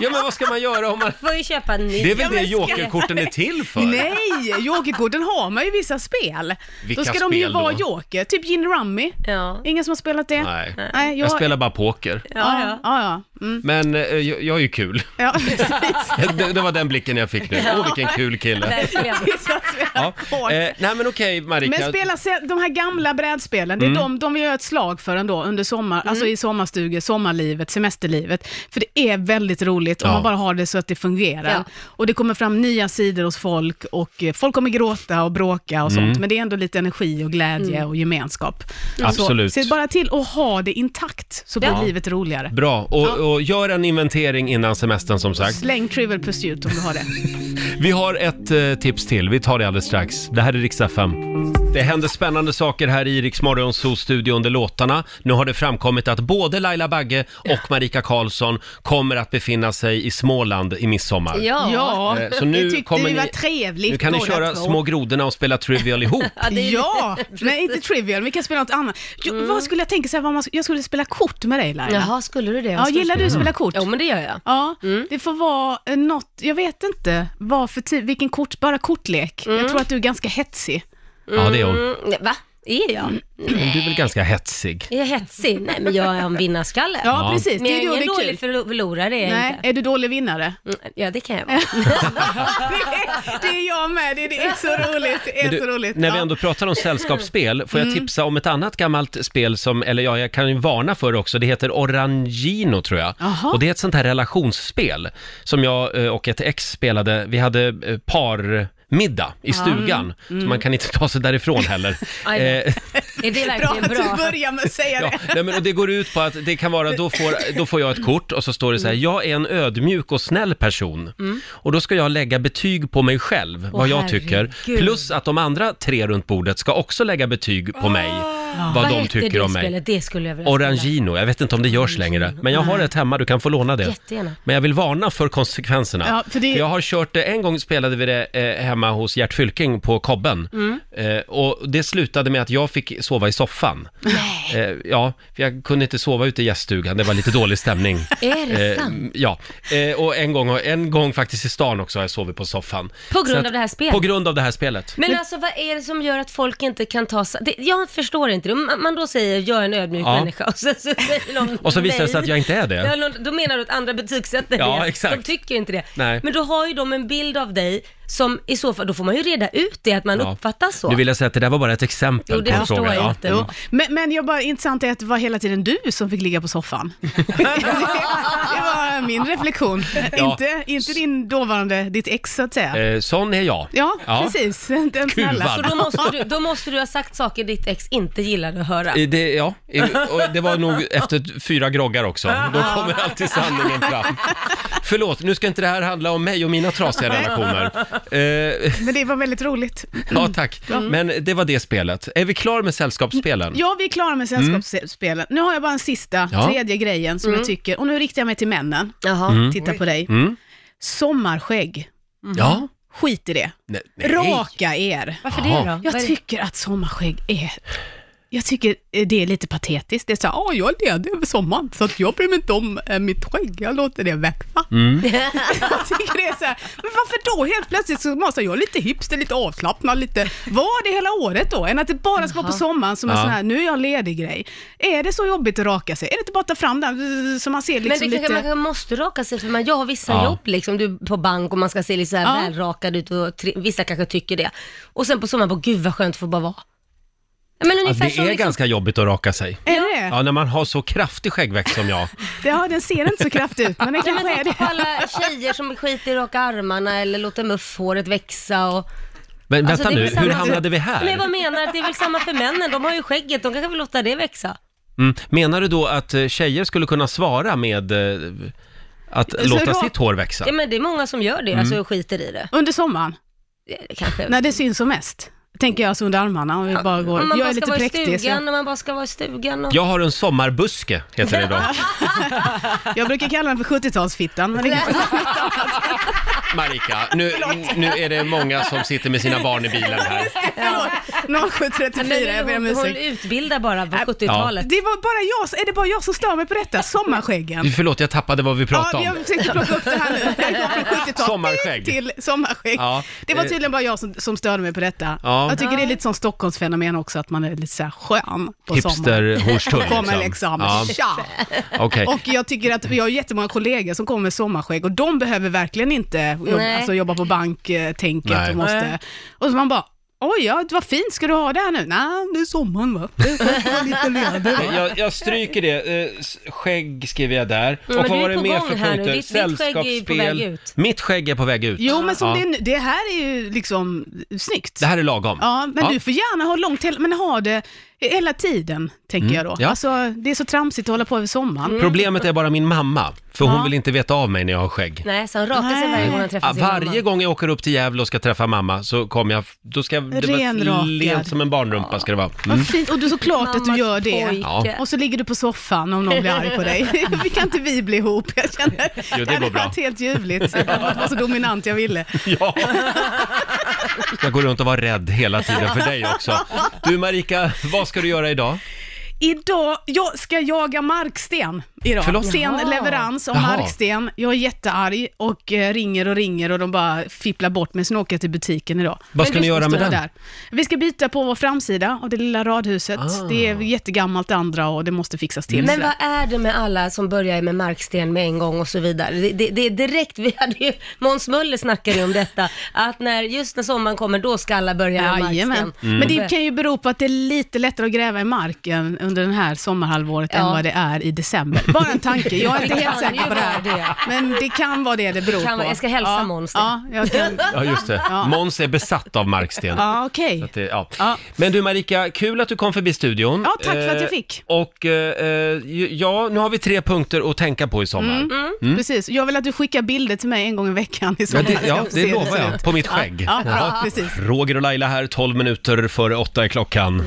Ja, men vad ska man göra om man... Du får ju köpa en ny. Det är väl Ja, det men ska- jokerkorten är till för? Nej, jokerkorten har man ju i vissa spel. Vilka då ska de ju spel då? vara joker, typ gin rummy. Ja. Ingen som har spelat det? Nej. Nej, Jag spelar bara poker. Ja, Ja, ja. ja. ja, ja. Mm. Men eh, jag, jag är ju kul. ja precis. Det, det var den blicken jag fick nu. Åh, vilken kul kille. Verkligen. Så spelar Ja. kort. Eh, nej, men okej, Marika. Men spela se- de här gamla brädspelen, det Mm. är de, de vill jag göra ett slag för ändå under sommar, alltså i sommarstugor, sommarlivet, semesterlivet. För det är väldigt roligt om Ja. man bara har det så att det fungerar. Ja. Och det kommer fram nya sidor hos folk och eh, folk kommer gråta och bråka och Mm. sånt. Men det är ändå lite energi och glädje Mm. och gemenskap. Absolut. Så se bara till att ha det intakt så blir Ja. livet roligare. Bra, och, och gör en inventering innan semestern som sagt. Släng Trivial Pursuit om du har det. Vi har ett eh, tips till, vi tar det alldeles strax. Det här är Riksa 5. Det händer spännande saker här i Rix Morgonzoo-studion under låtarna. Nu har det framkommit att både Laila Bagge och Marika Karlsson kommer att befinna sig i Småland i midsommar. Ja. Ja, Eh, så nu det tyckte kommer vi ni- var trevligt Nu kan ni båda köra två. Mm. Små grodorna och spela Trivial ihop. Ja, nej inte trivial, vi kan spela något annat. Jo, Vad skulle jag tänka, så här, vad man, jag skulle spela kort med dig Laila. Mm. Jaha, skulle du det? ja, gillar du att spela kort? Jo, men Mm. det gör jag. Ja, det får vara eh, något, jag vet inte vad för tid, vilken kort, bara kortlek. Jag tror att du är ganska hetsig. Ja, det är hon. Mm, nej, va? Är jag? Men du är väl ganska hetsig? Är jag hetsig? Nej, men jag är en vinnarskalle. Ja, Ja. precis. Men Det jag är då är det ingen är dålig kul. förlo- förlorare, är jag Nej, inte. är du dålig vinnare? Mm, Ja, det kan jag vara. det är jag med, det det är så roligt. Det är Men du, så roligt. När vi Ja. Mm. ändå pratar om sällskapsspel, får jag tipsa om ett annat gammalt spel som, eller ja, jag kan ju varna för det också, det heter Orangino tror jag. Jaha. Och det är ett sånt här relationsspel som jag eh, och ett ex spelade, vi hade eh, par middag i stugan, Mm. så man kan inte ta sig därifrån heller. Aj då. Eh, Är det Bra verkligen att du bra? börjar med att säga Ja, det. nej, men, och det går ut på att det kan vara, då får, då får jag ett kort och så står det så här, jag är en ödmjuk och snäll person. Och då ska jag lägga betyg på mig själv, vad jag tycker. herregud. Plus att de andra tre runt bordet ska också lägga betyg på mig, vad, Vad de hette tycker det om mig. spelet? Det skulle jag vilja spela. Orangino, jag vet inte om det görs längre, men jag har ett hemma, du kan få låna det. Jättegärna. Men jag vill varna för konsekvenserna. Ja, för det- Jag har kört det, en gång spelade vi det eh, hemma hos Gert Fylking på Kobben. Mm. Eh, och det slutade med att jag fick sova i soffan. Eh, ja, för jag kunde inte sova ute i gäststugan, det var lite dålig stämning. Eh, Är det sant? ja, eh, och en gång, en gång faktiskt i stan också har jag sovit på soffan. På grund Så av det här spelet? På grund av det här spelet. Men alltså vad är det som gör att folk inte kan ta sig... det- Jag förstår inte det. Man, man då säger jag är en ödmjuk Ja. människa och sen så säger någon Och så visar det sig nej. att jag inte är det. Ja, någon- då menar du att andra betygsätter Ja, det. exakt. De tycker inte det. Nej. Men då har ju de en bild av dig som i så fall, då får man ju reda ut det, att man Ja. uppfattas så. Nu vill jag säga att det där var bara ett exempel Jo, det på en förstår fråga. jag Ja. Mm. inte. Jo. Men, men jag bara, intressant är att det var hela tiden du som fick ligga på soffan. det var min reflektion. Ja. Inte, inte din dåvarande, ditt ex så att säga. Eh, sån är jag. Ja, precis. Den snälla. Kuvad. Så då måste, du, då måste du ha sagt saker ditt ex inte gillade att höra. Eh, Det, ja, eh, och det var nog efter fyra groggar också. Då kommer alltid sanningen fram. Förlåt, nu ska inte det här handla om mig och mina trasiga relationer. Eh, Men det var väldigt roligt. ja, tack. Mm. Men det var det spelet. Är vi klar med sällskapsspelen? Ja, vi är klara med sällskapsspelen. Nu har jag bara en sista, Mm. Ja. tredje grejen som jag tycker, och nu riktar jag mig till männen. Jaha. Mm. Titta på dig. Mm. Sommarskägg. Ja. Skit i det. Nej. Raka er. Varför Jaha. det då? Vad Jag är- tycker att sommarskägg är... Jag tycker eh, det är lite patetiskt. Det är så här, "Ah, jag är ledig över sommaren, så att jag bryr mig inte om eh, mitt skägg. Jag låter det växa. Mm. jag tycker det är så här, men varför då helt plötsligt så måste jag lite hipster, lite avslappnad, lite... Var det hela året då? Än att det bara ska vara på sommaren som en Ja. sån här, nu är jag ledig-grej. Är det så jobbigt att raka sig? Är det inte bara att ta fram den så man ser liksom Men det kanske lite... man kanske måste raka sig för man jag har vissa Ja. jobb liksom, du på bank och man ska se lite så här Ja. välrakad ut och tri- vissa kanske tycker det. Och sen på sommaren, bara, gud vad skönt att få bara vara. Ja, Men Ja, ungefär det som är liksom, ganska jobbigt att raka sig. Är det? Ja, när man har så kraftig skäggväxt som jag. Ja, den ser inte så kraftig ut, men den kanske är det. på alla tjejer som skiter i att raka armarna eller låter muffhåret växa och... Men Alltså, vänta det är nu, väl samma- hur hamnade vi Men jag bara här? menar att det är väl samma för männen, de har ju skägget, de kanske vill låta det växa. Mm. Menar du då att eh, tjejer skulle kunna svara med eh, att Alltså, Så låta rak- sitt hår växa? Ja men det är många som gör det, alltså och skiter i det. Under sommaren? Eh, Kanske. När det syns som mest. Tänker jag så under armarna om vi bara går. Om man jag bara är ska lite vara i präktig. Så stugan, jag, om man bara ska vara i stugan och... Jag har en sommarbuske, heter det då. jag brukar kalla den för 70-talsfittan. Men det, Marika, nu, nu är det många som sitter med sina barn i bilen här. förlåt, 0734, jag ber om Men hon, hon ursäkt. utbildar bara på 70-talet. Det var bara jag, är det bara jag som stör mig på detta? Sommarskäggen. Förlåt, jag tappade vad vi pratade Ja, jag om. försökte plocka upp det här nu. Jag går från 70-tal Sommarskägg. till sommarskägg. Ja, det var eh. tydligen bara jag som, som störde mig på detta. Ja. Jag tycker det är lite som Stockholmsfenomen också, att man är lite så här skön på sommaren. Hipster-horstull Kommer liksom, Ja, tja! okej. Och jag tycker att vi har jättemånga kollegor som kommer med sommarskägg och de behöver verkligen inte jobba, Nej. alltså, jobba på banktänket Nej. och måste... Nej. Och så man bara, oj, ja, vad fint, ska du ha det här nu? Nej, det är sommaren va? Det var lite ledig. va? Jag, jag stryker det. Eh, s- Skägg skriver jag där. men och du vad är var det på mer gång för här nu. punkter? Ditt- ditt skägg är ju på väg ut. Mitt skägg är på väg ut. Jo, men som Ja. det, är nu- det här är ju liksom snyggt. Det här är lagom. Ja, men du får gärna ha långt, hel- men ha det hela tiden, tänker jag då. Mm. ja. Alltså, det är så tramsigt att hålla på över sommaren. Problemet är bara min mamma, för hon Ja. vill inte veta av mig när jag har skägg. Nej, så han rakar sig varje gång han träffar Ja, sin varje mamma. gång jag åker upp till Gävle och ska träffa mamma så kommer jag, då ska jag, det var Renrakad. lent som en barnrumpa ska det vara. Mm. Vad fint, och du såklart att du Mammas gör det. pojke. Ja. Och så ligger du på soffan om någon blir arg på dig. Vi kan inte vi bli ihop, jag känner. Jo, det går hade bra. varit helt ljuvligt. Jag hade varit så dominant jag ville. Ja. Jag går runt och var rädd hela tiden för dig också. Du Marika, vad ska du göra idag? Idag, jag ska jaga marksten. idag. Förlåt? Sen leverans av Jaha. marksten. Jag är jättearg och eh, ringer och ringer och de bara fipplar bort mig. Sen åker jag till butiken idag. Vad ska du ni göra med stå den? Vi ska byta på vår framsida av det lilla radhuset. Ah. Mm. Det är jättegammalt det andra och det måste fixas till. Men sådär. vad är det med alla som börjar med marksten med en gång och så vidare? Det, det, det är direkt, vi hade ju, Måns Möller snackade ju om detta, att när, just när sommaren kommer, då ska alla börja med Jajamän. marksten. Mm. Men det kan ju bero på att det är lite lättare att gräva i marken under den här sommarhalvåret Ja. än vad det är i december. Bara en tanke, jag är inte Det helt kan säker ju på det här. vara det. Men det kan vara det det beror Kan på. vara- jag ska hälsa ja. Måns det. Ja, jag kan. Ja, just det. Måns är besatt av marksten. Ja, okej. Att det, ja. Ja. Men du Marika, kul att du kom förbi studion. Ja, tack för att jag fick. Eh, Och eh, eh, ju- ja, nu har vi tre punkter att tänka på i sommar. Mm. Precis. Jag vill att du skickar bilder till mig en gång i veckan i Mm. Ja, sommar. det, Mm. Jag ja, får se det hur lovar ser jag. ut. På mitt skägg. Ja, ja, Ja. precis. Roger och Laila här, 12 minuter före åtta är klockan.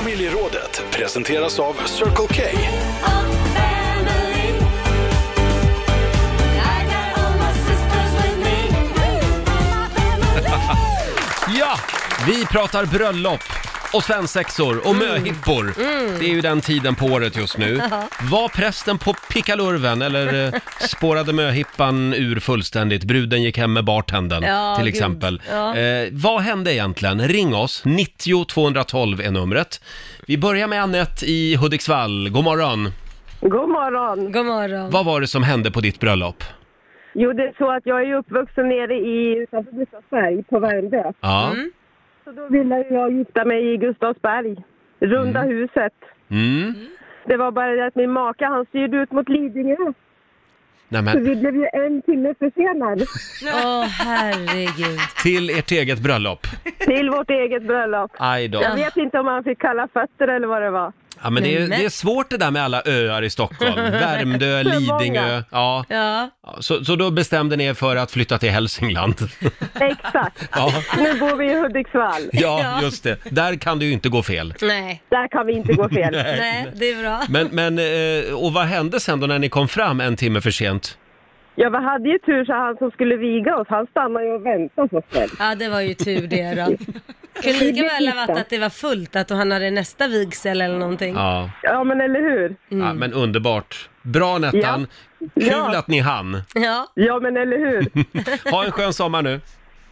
Familjerådet presenteras av Circle K. Ja, vi pratar bröllop och svensexor Mm. och möhippor. Det är ju den tiden på året just nu. Var prästen på pickalurven eller eh, spårade möhippan ur fullständigt? Bruden gick hem med bartendern Ja, till gud. exempel. Ja. Eh, vad hände egentligen? Ring oss, 90 212 är numret. Vi börjar med Annette i Hudiksvall. God morgon. God morgon! God morgon. Vad var det som hände på ditt bröllop? Jo, det är så att jag är ju uppvuxen nere i utanför Gustavsberg på Värmdö. Ja. Mm. Så då ville ju jag gifta mig i Gustavsberg, Runda huset. Mm. Det var bara det att min make han styrde ut mot Lidingö Nej, så men, vi blev ju en timme försenad Åh herregud. till ert eget bröllop. till vårt eget bröllop. Aj då. Jag vet inte om han fick kalla fötter eller vad det var. Ja, men det är, Men- det är svårt det där med alla öar i Stockholm. Värmdö, Lidingö. Ja. Ja. Så, så då bestämde ni er för att flytta till Hälsingland. Exakt! Ja, Nu bor vi i Hudiksvall. ja just det. Där kan det ju inte gå fel. Nej. Där kan vi inte gå fel. Nej, det är bra. Men, men eh, och vad hände sen då när ni kom fram en timme för sent? Ja, vi hade ju tur så han som skulle viga oss, han stannade ju och väntade på oss. väl. Ja, det var ju tur det då. Kunde lika väl ha varit att det var fullt, att han hade nästa vigsel eller någonting. Ja, Ja, men eller hur? ja Mm. men underbart. Bra Nettan. Kul Ja. att ni hann. Ja. Ja, men eller hur? Ha en skön sommar nu.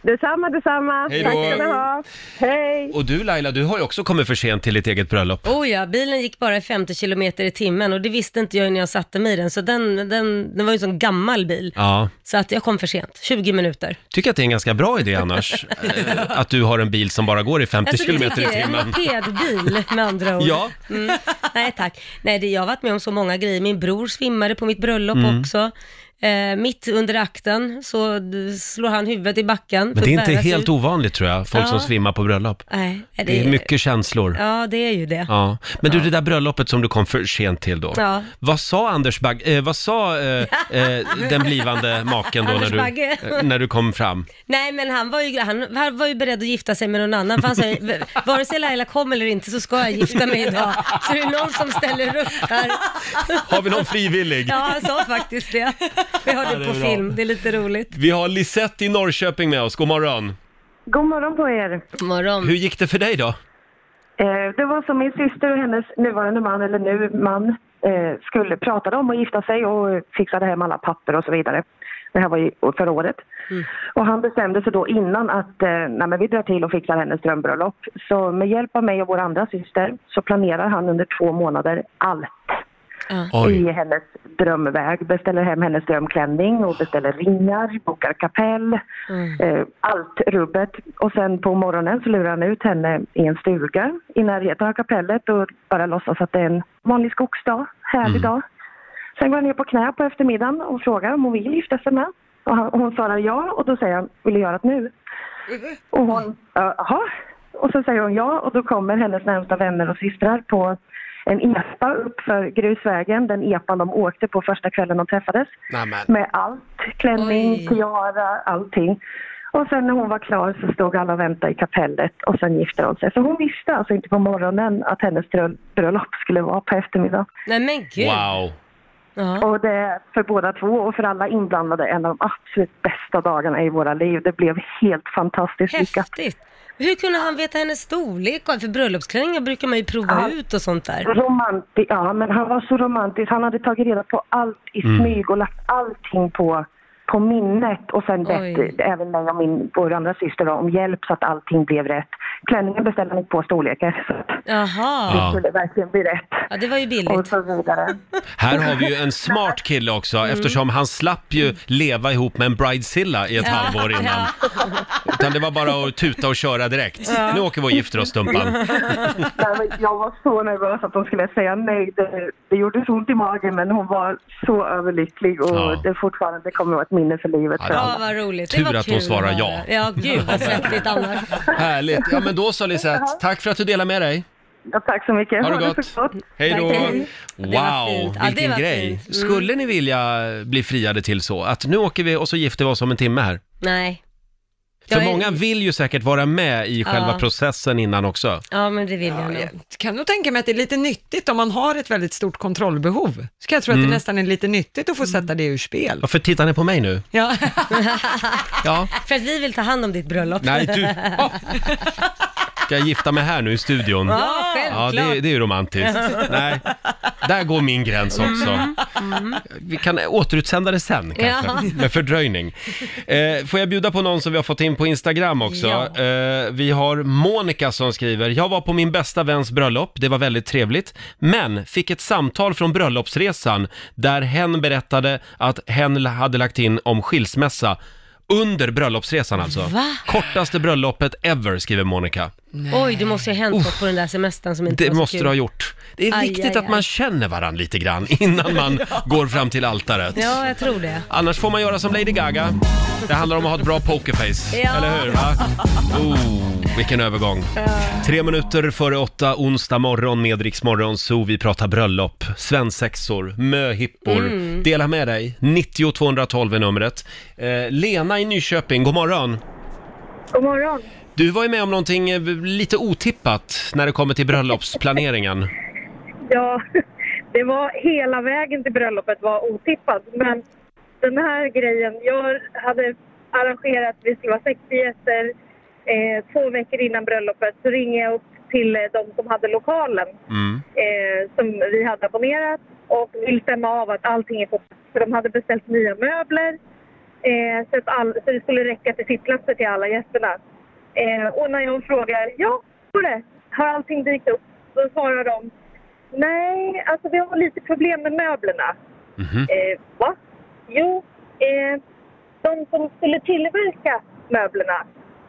Detsamma, detsamma. Hej då. Tack ska ni ha. Hej. Och du Laila, du har ju också kommit för sent till ditt eget bröllop. Oh ja, bilen gick bara i 50 kilometer i timmen och det visste inte jag när jag satte mig i den, så den, den, den var ju en sån gammal bil. Ja, Så att jag kom för sent, 20 minuter. tycker att det är en ganska bra idé annars. eh, att du har en bil som bara går i 50 Alltså, det kilometer i tycker jag är timmen. En mopedbil med andra ord. Ja. Mm. Nej tack. Nej, det, jag har varit med om så många grejer. Min bror svimmade på mitt bröllop Mm. också. Eh, mitt under akten så d- slår han huvudet i backen. Men det är inte helt o... ovanligt tror jag, folk som Ja. svimmar på bröllop. Nej, det, Det är mycket känslor. Ja, det är ju det. Ja. Men du, det där bröllopet som du kom för sent till då. Ja. Vad sa Anders Bagge, eh, vad sa eh, eh, den blivande maken då när Anders du, Bagge. eh, när du kom fram? Nej, men han var, ju, han, han var ju beredd att gifta sig med någon annan, för han sa ju, vare sig Laila kom eller inte så ska jag gifta mig idag. Så det är någon som ställer upp här. Har vi någon frivillig? Ja, han sa faktiskt det. Vi har Ja, det det är på bra. film, det är lite roligt. Vi har Lisette i Norrköping med oss, god morgon. God morgon på er. God morgon. Hur gick det för dig då? Eh, Det var som min syster och hennes nuvarande man, eller nu man, eh, skulle prata om att gifta sig och fixade hem alla papper och så vidare. Det här var ju förra året. Mm. Och han bestämde sig då innan att eh, nej men vi drar till och fixar hennes drömbröllop. Så med hjälp av mig och vår andra syster så planerar han under två månader allt. i Oj, hennes drömväg. Beställer hem hennes drömklänning och beställer ringar, bokar kapell, eh, allt rubbet. Och sen på morgonen så lurar han ut henne i en stuga i närheten av kapellet och bara låtsas att det är en vanlig skogsdag, härlig dag. Sen går han ner på knä på eftermiddagen och frågar om hon vill gifta sig med. Och han, hon svarar ja och då säger han, vill du göra det nu? Och hon, ja, jaha. Och så säger hon ja och då kommer hennes närmsta vänner och systrar på en epa upp för grusvägen, den epan de åkte på första kvällen de träffades. nämen. Med allt, klänning, Oj. tiara, allting. Och sen när hon var klar så stod alla och väntade i kapellet och sen gifte de sig. Så hon visste alltså inte på morgonen att hennes drö- bröllop skulle vara på eftermiddagen. Nej men gud. Wow. Ja. Och det är för båda två och för alla inblandade en av de absolut bästa dagarna i våra liv. Det blev helt fantastiskt lyckat. Häftigt. Hur kunde han veta hennes storlek? För bröllopsklänningar brukar man ju prova ut och sånt där. Romanti- ja, men han var så romantisk. Han hade tagit reda på allt i Mm. smyg och lagt allting på, på minnet. Och sen Oj. bett även mig och min, vår andra syster då, om hjälp så att allting blev rätt. Klänningen beställde han i två storlekar så att Jaha. det Ja. skulle verkligen bli rätt. Ja, det var ju Och billigt. så vidare. Här har vi ju en smart kille också Mm. eftersom han slapp ju leva ihop med en bridezilla i ett halvår innan. Utan det var bara att tuta och köra direkt. Nu åker vi och gifter oss Dumpan. Nej, men jag var så nervös att de skulle säga nej. Det, det gjorde så ont i magen men hon var så överlycklig och Ja. det fortfarande det kommer att vara ett minne för livet. Ja, för det- alla. Ja, vad roligt. Tur det var att hon kul svarar att ja. höra. Ja, gud vad svettigt annars. Härligt. Ja men då så Lisette, tack för att du delade med dig. Ja, tack så mycket. Ha det så gott. Hej då. Tack, hej. Det var Wow, fint. Ja, det vilken var grej. fint. Mm. Skulle ni vilja bli friade till så att nu åker vi och så gifter vi oss om en timme här? Nej. För Jag är- många vill ju säkert vara med i själva Ja. processen innan också. Ja, men det vill jag nog. Jag kan nog tänka mig att det är lite nyttigt om man har ett väldigt stort kontrollbehov. Så kan jag tro att det nästan är lite nyttigt att få sätta det ur spel. Varför tittar ni på mig nu? Ja. Ja, För att vi vill ta hand om ditt bröllop. nej du. Oh. Ska jag gifta mig här nu i studion? Ja, Ja, självklart. det, det är ju romantiskt. Nej, där går min gräns Mm. också. Vi kan återutsända det sen kanske, Ja. med fördröjning. Eh, får jag bjuda på någon som vi har fått in på Instagram också? Ja. Eh, vi har Monica som skriver, jag var på min bästa väns bröllop, det var väldigt trevligt, men fick ett samtal från bröllopsresan där hen berättade att hen l- hade lagt in om skilsmässa under bröllopsresan alltså. Va? Kortaste bröllopet ever, skriver Monica. Oj, det måste ju ha hänt något på den där semestern som inte Det var så måste kul. du ha gjort. Det är Aj, viktigt aj, att man aj. känner varandra lite grann innan man går fram till altaret. Ja, jag tror det. Annars får man göra som Lady Gaga. Det handlar om att ha ett bra pokerface, Ja. eller hur? Va? Oh, vilken övergång. Tre minuter före åtta, onsdag morgon med Rix Morgon, så vi pratar bröllop, svensexor, möhippor. Dela med dig, 90 212 är numret. Eh, Lena i Nyköping, god morgon. God morgon. Du var ju med om någonting eh, lite otippat när det kommer till bröllopsplaneringen. Ja, det var hela vägen till bröllopet var otippat. Men den här grejen, jag hade arrangerat, vi skulle vara 60 gäster. Eh, två veckor innan bröllopet så ringer jag upp till eh, de som hade lokalen Mm. eh, som vi hade abonnerat och vill stämma av att allting är på plats. För de hade beställt nya möbler eh, så, att all, så det skulle räcka till sittplatser till alla gästerna. Eh, och när jag frågar ja, hur är det? har allting dykt upp? Då svarar de nej, alltså vi har lite problem med möblerna. Mhm. Eh, va? Jo, eh, de som skulle tillverka möblerna,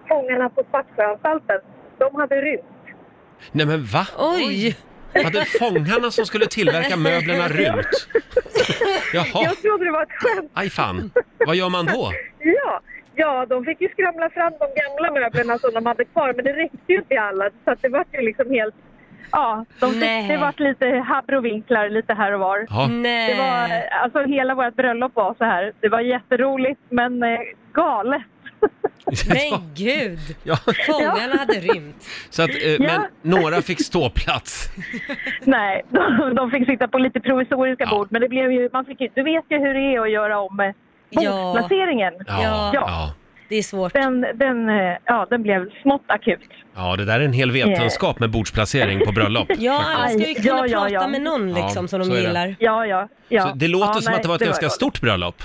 fångarna på Svartsjöanstalten, de hade rymt. Nej men va? Oj! Hade fångarna som skulle tillverka möblerna rymt? Jaha, Jag trodde det var ett skämt. aj fan. Vad gör man då? Ja, ja, de fick ju skramla fram de gamla möblerna som de hade kvar, men det räckte ju inte i alla. Så att det var ju liksom helt... Ja, de Nej. fick, det var lite habrovinklar lite här och var. Ja, Nej. Det var, alltså hela vårt bröllop var så här. Det var jätteroligt, men eh, galet. Men gud! ja. Fångarna hade rymt. Så att, eh, men Ja. några fick ståplats. Nej, de, de fick sitta på lite provisoriska Ja. bord, men det blev ju, man fick ju, du vet ju hur det är att göra om eh, Ja. bordsplaceringen. Ja, Ja. ja. Det är svårt. Den, den, eh, ja, den blev smått akut. ja, det där är en hel vetenskap med bordsplacering på bröllop. Ja, alla ska ju Ja, kunna ja, ja. prata med någon liksom Ja, som så de är det. gillar. Ja, ja. ja. Så det låter ja, som nej, att det var ett ganska galet. stort bröllop.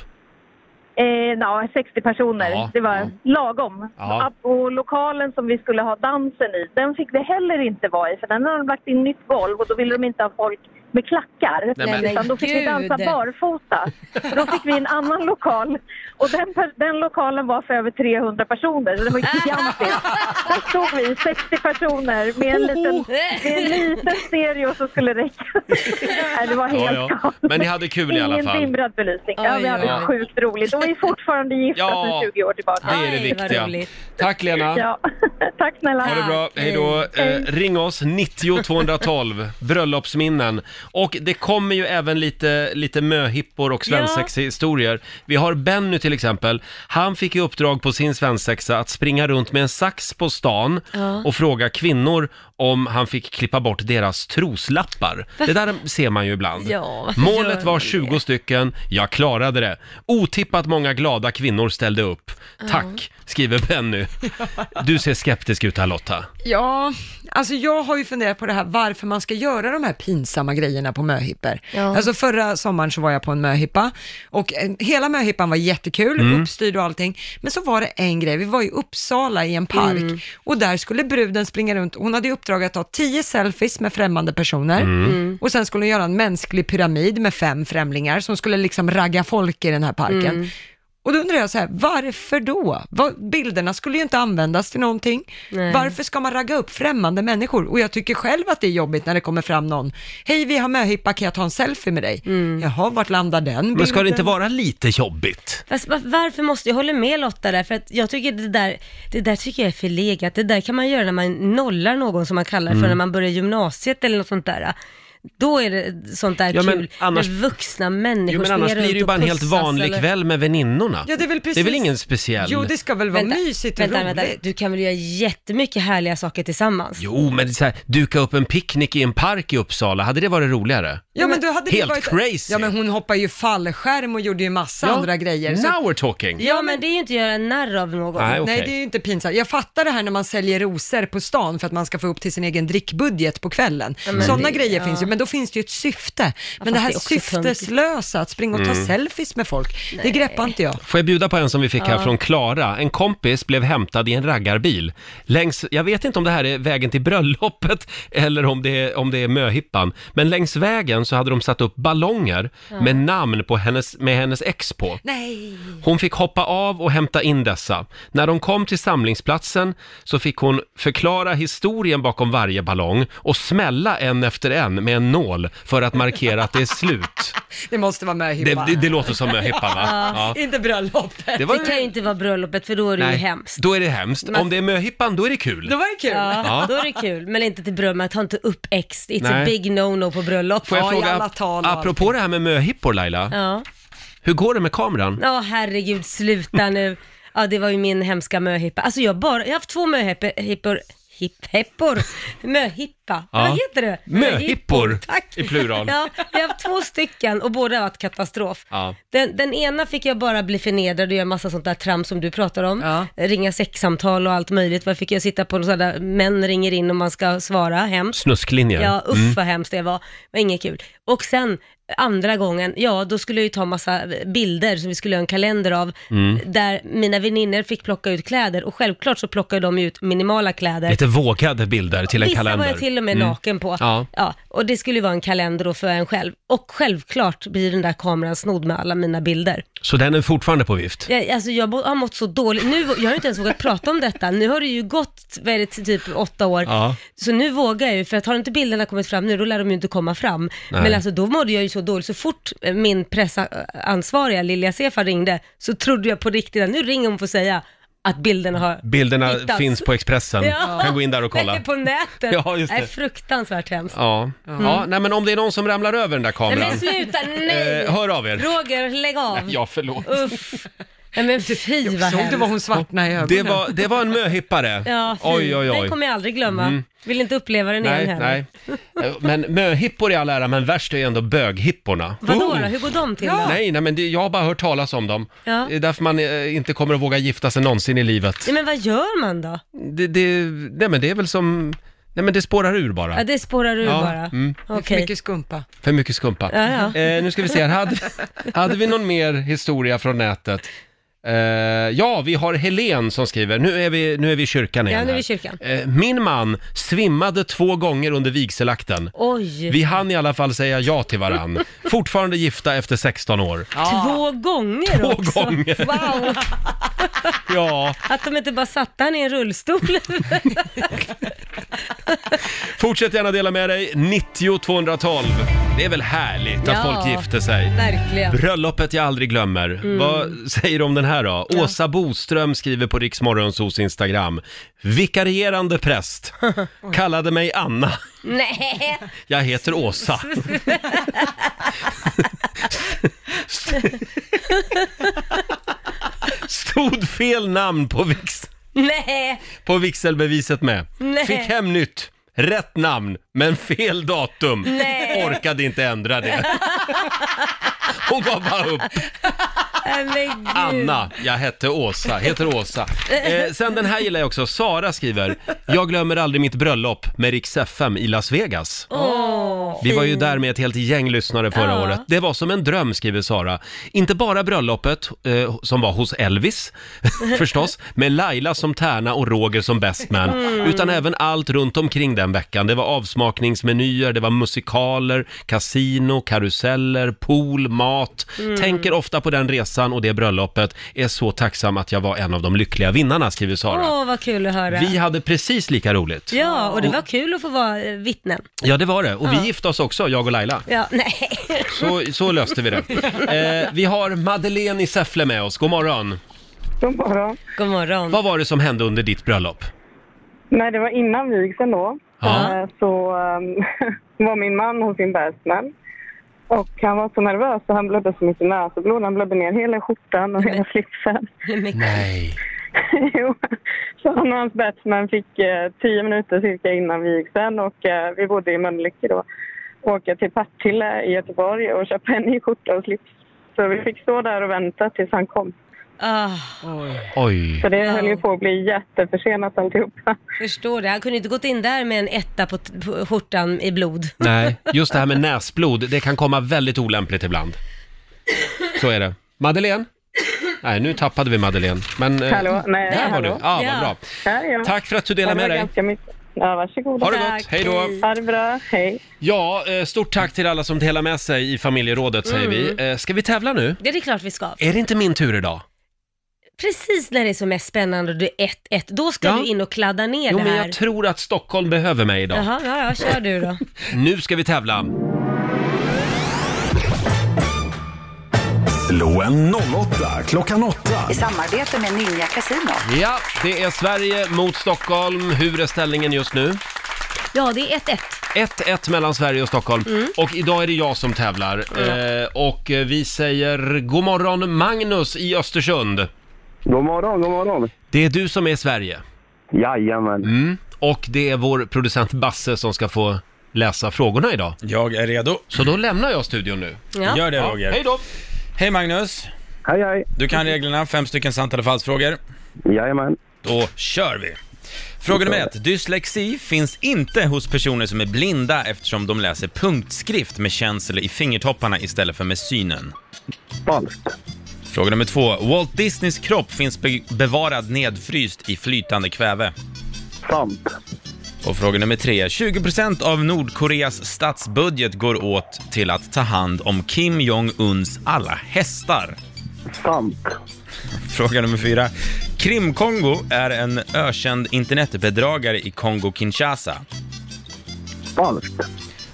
Eh, ja, 60 personer. Ja, det var ja. lagom. Ja. Och lokalen som vi skulle ha dansen i, den fick vi heller inte vara i för den hade de lagt in nytt golv och då ville de inte ha folk med klackar. Nej, men- utan då fick vi Gud. dansa barfota. Så då fick vi en annan lokal. Och den, per- den lokalen var för över 300 personer, så det var gigantiskt. Där stod vi, 60 personer, med en liten, med en liten stereo som skulle räcka. Nej, det var Ja, helt ja. galet. Men ni hade kul i alla Ingen fall. dimrad belysning. Ja, Oj, vi hade oj. sjukt roligt. Och vi är fortfarande gifta Ja. sedan 20 år tillbaka. Det är det Aj, vad viktiga. roligt. Tack Lena. Ja. Tack snälla. Ha det bra, hej då. Eh, ring oss, 90 212, bröllopsminnen. Och det kommer ju även lite, lite möhippor och svensexhistorier. Vi har Benny till exempel. Han fick i uppdrag på sin svensexa att springa runt med en sax på stan Ja. och fråga kvinnor om han fick klippa bort deras troslappar. Det där ser man ju ibland. Ja, varför gör Målet man var det? 20 stycken. Jag klarade det. Otippat många glada kvinnor ställde upp. Tack, skriver Benny. Du ser skeptisk ut här Lotta. Ja, alltså jag har ju funderat på det här varför man ska göra de här pinsamma grejerna på möhippor. Ja. Alltså förra sommaren så var jag på en möhippa och eh, hela möhippan var jättekul, uppstyrd och allting. Men så var det en grej, vi var i Uppsala i en park Mm. och där skulle bruden springa runt, hon hade i uppdrag att ta tio selfies med främmande personer Mm. och sen skulle hon göra en mänsklig pyramid med fem främlingar som skulle liksom ragga folk i den här parken. Mm. Och då undrar jag så här, varför då? Vad, bilderna skulle ju inte användas till någonting. Nej. Varför ska man ragga upp främmande människor? Och jag tycker själv att det är jobbigt när det kommer fram någon, hej vi har möhippa, kan jag ta en selfie med dig? Mm. Jaha, vart landar den bilden? Men ska det inte vara lite jobbigt? Fast va- varför måste, jag håller med Lotta där, för att jag tycker det där, det där tycker jag är förlegat. Det där kan man göra när man nollar någon som man kallar Mm. för när man börjar gymnasiet eller något sånt där. Då är det sånt där Ja, men kul, annars- när vuxna människor Jo men springer annars blir runt det ju och bara en helt pussas vanlig eller- kväll med väninnorna. Ja, det är väl precis. Det är väl ingen speciell? Jo, det ska väl vara mysigt och vänta, roligt. vänta, du kan väl göra jättemycket härliga saker tillsammans? Jo, men det är så här, duka upp en picknick i en park i Uppsala, hade det varit roligare? Ja, men då hade det Helt varit... crazy. Ja, men hon hoppar ju fallskärm och gjorde ju massa andra grejer. så- Now we're talking! Ja, men det är ju inte att göra narr av någon. Nej, okej. Nej, det är ju inte pinsamt. Jag fattar det här när man säljer rosor på stan för att man ska få upp till sin egen drickbudget på kvällen. men Sådana det- grejer ja. finns ju, men då finns det ju ett syfte. Men fast det här det är också syfteslösa, att springa och Mm. ta selfies med folk, det greppar inte jag. Får jag bjuda på en som vi fick här från Klara? En kompis blev hämtad i en raggarbil längs, jag vet inte om det här är vägen till bröllopet eller om det är, om det är möhippan, men längs vägen så hade de satt upp ballonger med namn på hennes, med hennes ex på. Nej. Hon fick hoppa av och hämta in dessa. När de kom till samlingsplatsen så fick hon förklara historien bakom varje ballong och smälla en efter en med en nål för att markera att det är slut. Det måste vara med Det, Hippa. det, det låter som möhippan va? Ja. Inte bröllopet. Det var Det kan ju inte vara bröllopet, för då är det ju hemskt. Då är det hemskt. Om det är möhippan, då är det kul. Det var ju kul. Ja, Ja. då är det kul. Men inte till bröllop, man tar inte upp ex. It's a Nej. big no-no på bröllop. Får jag Ja, i fråga, alla tal och apropå det här med möhippor Laila, Ja. hur går det med kameran? Ja, herregud, sluta nu. Ja, det var ju min hemska möhippa. Alltså jag har bara, jag har haft två möhippor, hipp, heppor, möhippa. Ja. Vad heter det? Möhippor, tack. i plural. Ja, jag har haft två stycken och båda har varit katastrof. Ja. Den, den ena fick jag bara bli förnedrad och göra massa sånt där trams som du pratar om. Ja. Ringa sexsamtal och allt möjligt. Var fick jag sitta på en sån där, män ringer in och man ska svara, hemskt. Snusklinjer. Ja, usch vad hemskt det var. Det var inget kul. Och sen andra gången, ja då skulle jag ju ta massa bilder som vi skulle göra en kalender av, Mm. där mina väninnor fick plocka ut kläder och självklart så plockade de ut minimala kläder. Lite vågade bilder till en Vissa kalender. Mm. var jag till och med naken på. Ja. och det skulle ju vara en kalender då för en själv. Och självklart blir den där kameran snodd med alla mina bilder. Så den är fortfarande på vift? Jag, alltså jag bo- har mått så dåligt. Nu, jag har ju inte ens vågat prata om detta. Nu har det ju gått vad är det, typ åtta år. Ja. Så nu vågar jag ju, för att har inte bilderna kommit fram nu, då lär de ju inte komma fram. Nej. Men alltså då mådde jag ju så dåligt, så fort eh, min pressansvariga Lilja Sefar ringde, så trodde jag på riktigt att nu ringer hon för att säga att bilderna har Bilderna hittats. finns på Expressen. Ja. Mm. Kan gå in där och kolla. Eller på nätet. Ja, just det. är fruktansvärt hemskt. Ja. ja, nej men om det är någon som ramlar över den där Nej, kameran. men sluta, nej! Eh, hör av er. Roger, lägg av. Ja, förlåt. Uff. Nej men fy vad Såg hemskt. du vad hon svartnade i ögonen? Det var, det var en möhippare. Ja, fy. oj, oj, oj. Mm. Den kommer jag aldrig glömma. Vill inte uppleva den igen nej, heller. nej. Eh, Men möhippor i all ära, men värst är ju ändå böghipporna. Vadå Oh. då? Hur går de till Ja. då? Nej, nej, men det, jag har bara hört talas om dem. Ja. Det är därför man eh, inte kommer att våga gifta sig någonsin i livet. Nej men vad gör man då? Det, det, nej, men det är väl som... Nej, men det spårar ur bara. Ja, det spårar ur Ja, bara. mm. Det är för Okej. mycket skumpa. För mycket skumpa. Ja, ja. Eh, nu ska vi se här, hade, hade vi någon mer historia från nätet? Eh, ja, vi har Helen som skriver, nu är vi, nu är vi i kyrkan igen Ja, nu är här. vi i kyrkan. Eh, Min man svimmade två gånger under vigselakten. Oj, Vi hann i alla fall säga ja till varann. Fortfarande gifta efter 16 år. två gånger Två också. gånger. Wow, Ja, att de inte bara satte han i en rullstol. fortsätt gärna dela med dig. 90 212 Det är väl härligt att Ja. folk gifter sig? Verkligen. Mm. Bröllopet jag aldrig glömmer. Vad säger du om den här då? Åsa Boström skriver på Riksmorgonsos Instagram. Vikarierande präst. Kallade mig Anna. Nej, Jag heter Åsa. Stod fel namn på, vix- nej, på vigselbeviset med. Nej. Fick hem nytt. Rätt namn, men fel datum. Nej. Orkade inte ändra det. Hon gav bara upp. nej, men gud. Anna, jag hette Åsa, heter Åsa. Eh, sen den här gillar jag också, Sara skriver, jag glömmer aldrig mitt bröllop med Rix FM i Las Vegas. Åh. Vi var ju där med ett helt gäng lyssnare förra Ja. året. Det var som en dröm, skriver Sara. Inte bara bröllopet, eh, som var hos Elvis, förstås, med Laila som tärna och Roger som best man, Mm. utan även allt runt omkring den veckan. Det var avsmakningsmenyer, det var musikaler, kasino, karuseller, pool, mat. Mm. Tänker ofta på den resan och det bröllopet. Är så tacksam att jag var en av de lyckliga vinnarna, skriver Sara. Åh, vad kul att höra. Vi hade precis lika roligt. Ja, och det var kul att få vara eh, vittnen. Ja, det var det. Och vi gifte oss också, jag och Laila. Ja, nej. Så, så löste vi det. Eh, vi har Madeleine i Säffle med oss. God morgon. God morgon. God morgon. Vad var det som hände under ditt bröllop? Nej, det var innan vigseln då. Ja. Eh, Så ehm, var min man hos sin bärsman. Och han var så nervös så han blödde så mycket näsblod. Han blödde ner hela skjortan och hela slipsen. Men- Nej. Jo. så han och hans batsman fick eh, tio minuter cirka innan vigseln och eh, vi bodde i Mölnlycke då. Åka till Partille i Göteborg och köpa en ny skjorta och slips. Så vi fick stå där och vänta tills han kom. Ah, Oj. Så det Wow. höll ju på att bli jätteförsenat alltihopa. Eh. förstår det. Han kunde inte gått in där med en etta på, t- på skjortan i blod. Nej, just det här med näsblod, det kan komma väldigt olämpligt ibland. Så är det. Madeleine? Nej, nu tappade vi Madeleine. Men, eh, Hallå? Nej, där var du. hallå? Ja, vad Ja. bra. Här är jag. Tack för att du Ja, delade det var med dig. ganska mycket. Ja, varsågoda. Ha det gott, hej då. Ha det bra, hej. Ja, eh, stort tack till alla som delar med sig i familjerådet säger vi. Eh, Ska vi tävla nu? Det är klart vi ska. Är det inte min tur idag? Precis när det är som mest spännande och du är 1-1, då ska Ja. du in och kladda ner Jo, det men här. jag tror att Stockholm behöver mig idag. Jaha, ja, ja, kör du då. Nu ska vi tävla. Slå en 08 klockan 8. I samarbete med Ninja Casino. Ja, det är Sverige mot Stockholm. Hur är ställningen just nu? Ja, det är 1-1. 1-1 mellan Sverige och Stockholm. Och idag är det jag som tävlar. Eh, och eh, vi säger god morgon Magnus i Östersund. God morgon, god morgon. Det är du som är Sverige. Jajamän. Mm. Och det är vår producent Basse som ska få läsa frågorna idag. Jag är redo. Så då lämnar jag studion nu. Ja. Gör det Ja, Roger. hej då! Hej Magnus. Hej, hej. Du kan reglerna, fem stycken sant eller falskt frågor. Jajamän. Då kör vi. Fråga nummer ett. Dyslexi finns inte hos personer som är blinda eftersom de läser punktskrift med känsel i fingertopparna istället för med synen. Falskt. Fråga nummer två. Walt Disneys kropp finns be- bevarad nedfryst i flytande kväve. Sant. Och fråga nummer tre. 20% av Nordkoreas statsbudget går åt till att ta hand om Kim Jong-Uns alla hästar. Sant. Fråga nummer fyra. Krim-Kongo är en ökänd internetbedragare i Kongo-Kinshasa. Falskt.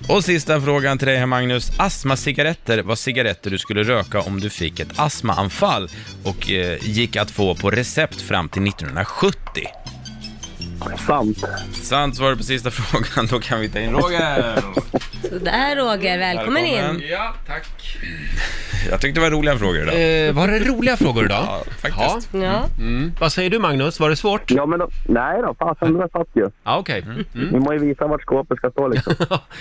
Och sista frågan till dig här Magnus. Astmacigaretter var cigaretter du skulle röka om du fick ett astmaanfall och eh, gick att få på recept fram till 1970. Sant. Sant svar på sista frågan, då kan vi ta in Roger. Sådär Roger, välkommen, in. Ja, tack. Jag tyckte det var roliga frågor idag. Eh, var det roliga frågor idag? Ja, faktiskt. Ja. Vad säger du Magnus, var det svårt? Ja, men då, nej då. Fasen, det där satt ju. Ja, okej. Mm. Mm. Vi må ju visa vart skåpet ska stå liksom.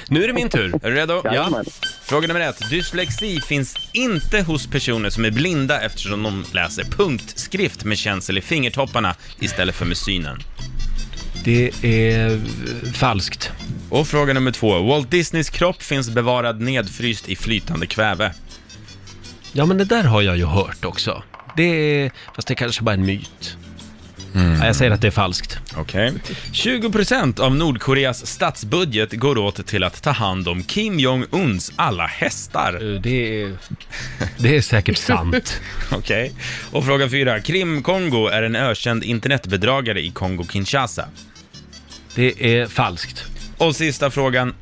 nu är det min tur. Är du redo? Jajamän. Fråga nummer ett. Dyslexi finns inte hos personer som är blinda eftersom de läser punktskrift med känsel i fingertopparna istället för med synen. Det är eh, falskt. Och fråga nummer två. Walt Disneys kropp finns bevarad nedfryst i flytande kväve. Ja, men det där har jag ju hört också. Det är, fast det kanske bara är en myt. Mm. Ja, jag säger att det är falskt. Okej. 20% av Nordkoreas statsbudget går åt till att ta hand om Kim Jong-Uns alla hästar. Eh, Det är, det är säkert sant. Okej. Och fråga fyra. Krim-Kongo är en ökänd internetbedragare i Kongo-Kinshasa. Det är falskt. Och sista frågan,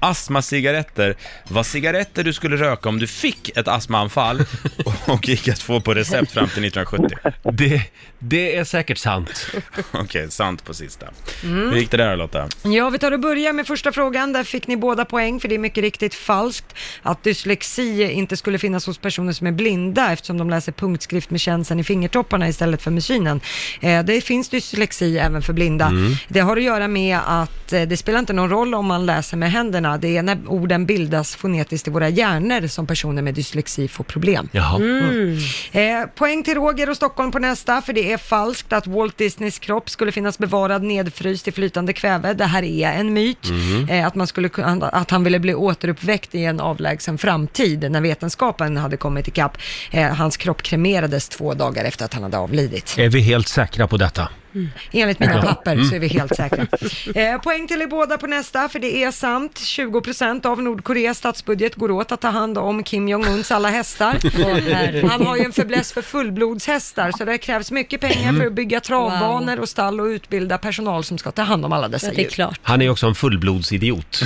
astmacigaretter. Vad cigaretter du skulle röka om du fick ett astmaanfall och gick att få på recept fram till 1970? Det, det är säkert sant. Okej, sant på sista. Mm. Hur gick det där Lotta? Ja, vi tar och börjar med första frågan. Där fick ni båda poäng, för det är mycket riktigt falskt att dyslexi inte skulle finnas hos personer som är blinda, eftersom de läser punktskrift med känslan i fingertopparna istället för med synen. Eh, det finns dyslexi även för blinda. Mm. Det har att göra med att eh, det spelar inte någon roll om man läser med händerna. Det är när orden bildas fonetiskt i våra hjärnor som personer med dyslexi får problem. Jaha. Mm. Eh, poäng till Roger och Stockholm på nästa, för det är falskt att Walt Disneys kropp skulle finnas bevarad nedfryst i flytande kväve. Det här är en myt. Mhm. Eh, att, man skulle, kunna- att han ville bli återuppväckt i en avlägsen framtid när vetenskapen hade kommit ikapp. Eh, hans kropp kremerades två dagar efter att han hade avlidit. Är vi helt säkra på detta? Enligt mina Ja. papper så är vi Mm. helt säkra. Eh, poäng till er båda på nästa, för det är sant. 20% av Nordkoreas statsbudget går åt att ta hand om Kim Jong-Uns alla hästar. Åh, herregud. Han har ju en fäbless för fullblodshästar, så det krävs mycket pengar Mm. för att bygga travbanor och stall och utbilda personal som ska ta hand om alla dessa Det är mm. djur. klart. Han är ju också en fullblodsidiot.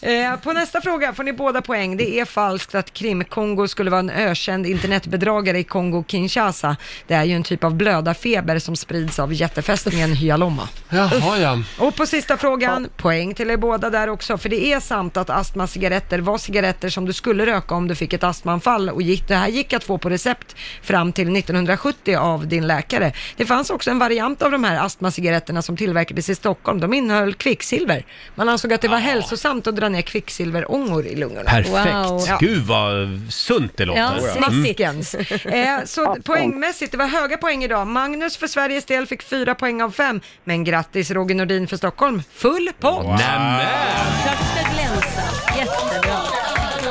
Eh, på nästa fråga får ni båda poäng. Det är falskt att Krim-Kongo skulle vara en ökänd internetbedragare i Kongo-Kinshasa. Det är ju en typ av blödarfeber som sprids av jättefästningen Hyalomma. Jaha, ja. Och på sista frågan, poäng till er båda där också, för det är sant att astmacigaretter var cigaretter som du skulle röka om du fick ett astmaanfall och gick, det här gick att få på recept fram till 1970 av din läkare. Det fanns också en variant av de här astmacigaretterna som tillverkades i Stockholm. De innehöll kvicksilver. Man ansåg att det var hälsosamt att dra ner kvicksilverångor i lungorna. Perfekt. Ja. Gud vad sunt det låter. Maskens. Eh, så poängmässigt, det var höga poäng idag. Magnus för Sveriges del fick fyra poäng av fem. Men grattis Roger Nordin för Stockholm, full pott! Klart ska glänsa.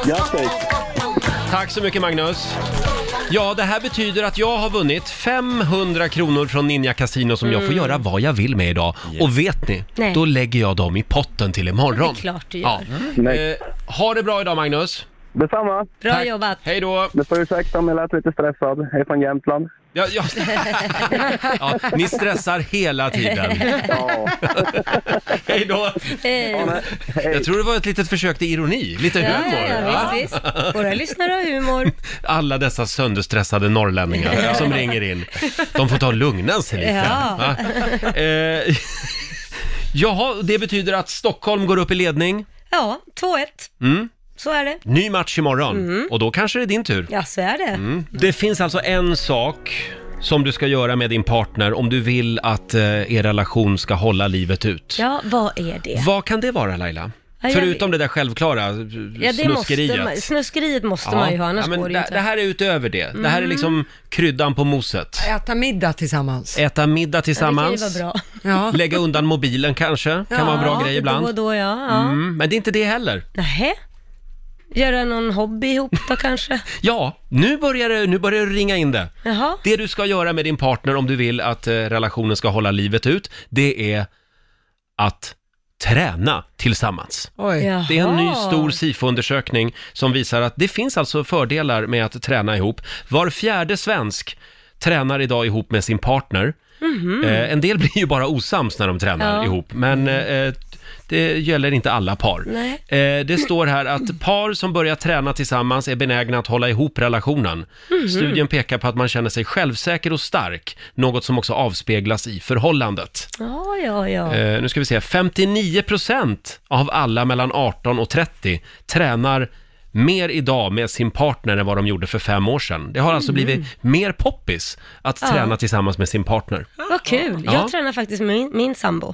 Jättebra. Tack så mycket Magnus. Ja, det här betyder att jag har vunnit 500 kronor från Ninja Casino som jag får Mm. göra vad jag vill med idag. Och vet ni? Nej. Då lägger jag dem i potten till imorgon. Det är klart du gör. Ja. Eh, ha det bra idag Magnus. Detsamma. Bra jobbat. Hej då. Du får ursäkta om jag lät lite stressad. Jag är från Jämtland. Ja, ja. ja, ni stressar hela tiden. Hej då! Jag tror det var ett litet försök till ironi, lite Eh, Ja, humor. ja, ja, visst, visst. Våra lyssnare har humor. Alla dessa sönderstressade norrlänningar Ja. som ringer in. De får ta och lugna sig lite. Ja. va? Eh, jaha, det betyder att Stockholm går upp i ledning. Ja, 2-1. Mm. Så är det. Ny match imorgon Mm. och då kanske det är din tur. Ja, så är det. Mm. Det finns alltså en sak som du ska göra med din partner om du vill att eh, er relation ska hålla livet ut. Ja, vad är det? Vad kan det vara Laila? Ja, jag Förutom det där självklara eh, Ja, det snuskeriet. Måste man, snuskeriet måste man ju ha, annars Ja, men går det det, ju inte. det här är utöver det. Det här är Mm. liksom kryddan på moset. Äta middag tillsammans. Äta middag tillsammans. Ja, det kan ju vara bra. Lägga undan mobilen kanske. kan vara en bra Ja, grej lite ibland. Då och då, ja. ja. Mm, men det är inte det heller. Nähä? Göra någon hobby ihop då kanske? Ja, nu börjar det, nu börjar det ringa in det. Jaha? Det du ska göra med din partner om du vill att eh, relationen ska hålla livet ut, det är att träna tillsammans. Oj. Det är en ny Jaha. stor SIFO-undersökning som visar att det finns alltså fördelar med att träna ihop. Var fjärde svensk tränar idag ihop med sin partner. Mhm. Eh, en del blir ju bara osams när de tränar Ja. Mm. ihop, men eh, det gäller inte alla par. Nej. Eh, det står här att par som börjar träna tillsammans är benägna att hålla ihop relationen. Mhm. Studien pekar på att man känner sig självsäker och stark, något som också avspeglas i förhållandet. Ja, ja, ja. Eh, nu ska vi se, 59% av alla mellan 18 och 30 tränar mer idag med sin partner än vad de gjorde för fem år sedan. Det har alltså Mm. blivit mer poppis att Ja. träna tillsammans med sin partner. Vad kul. Jag Ja. tränar faktiskt med min, min sambo.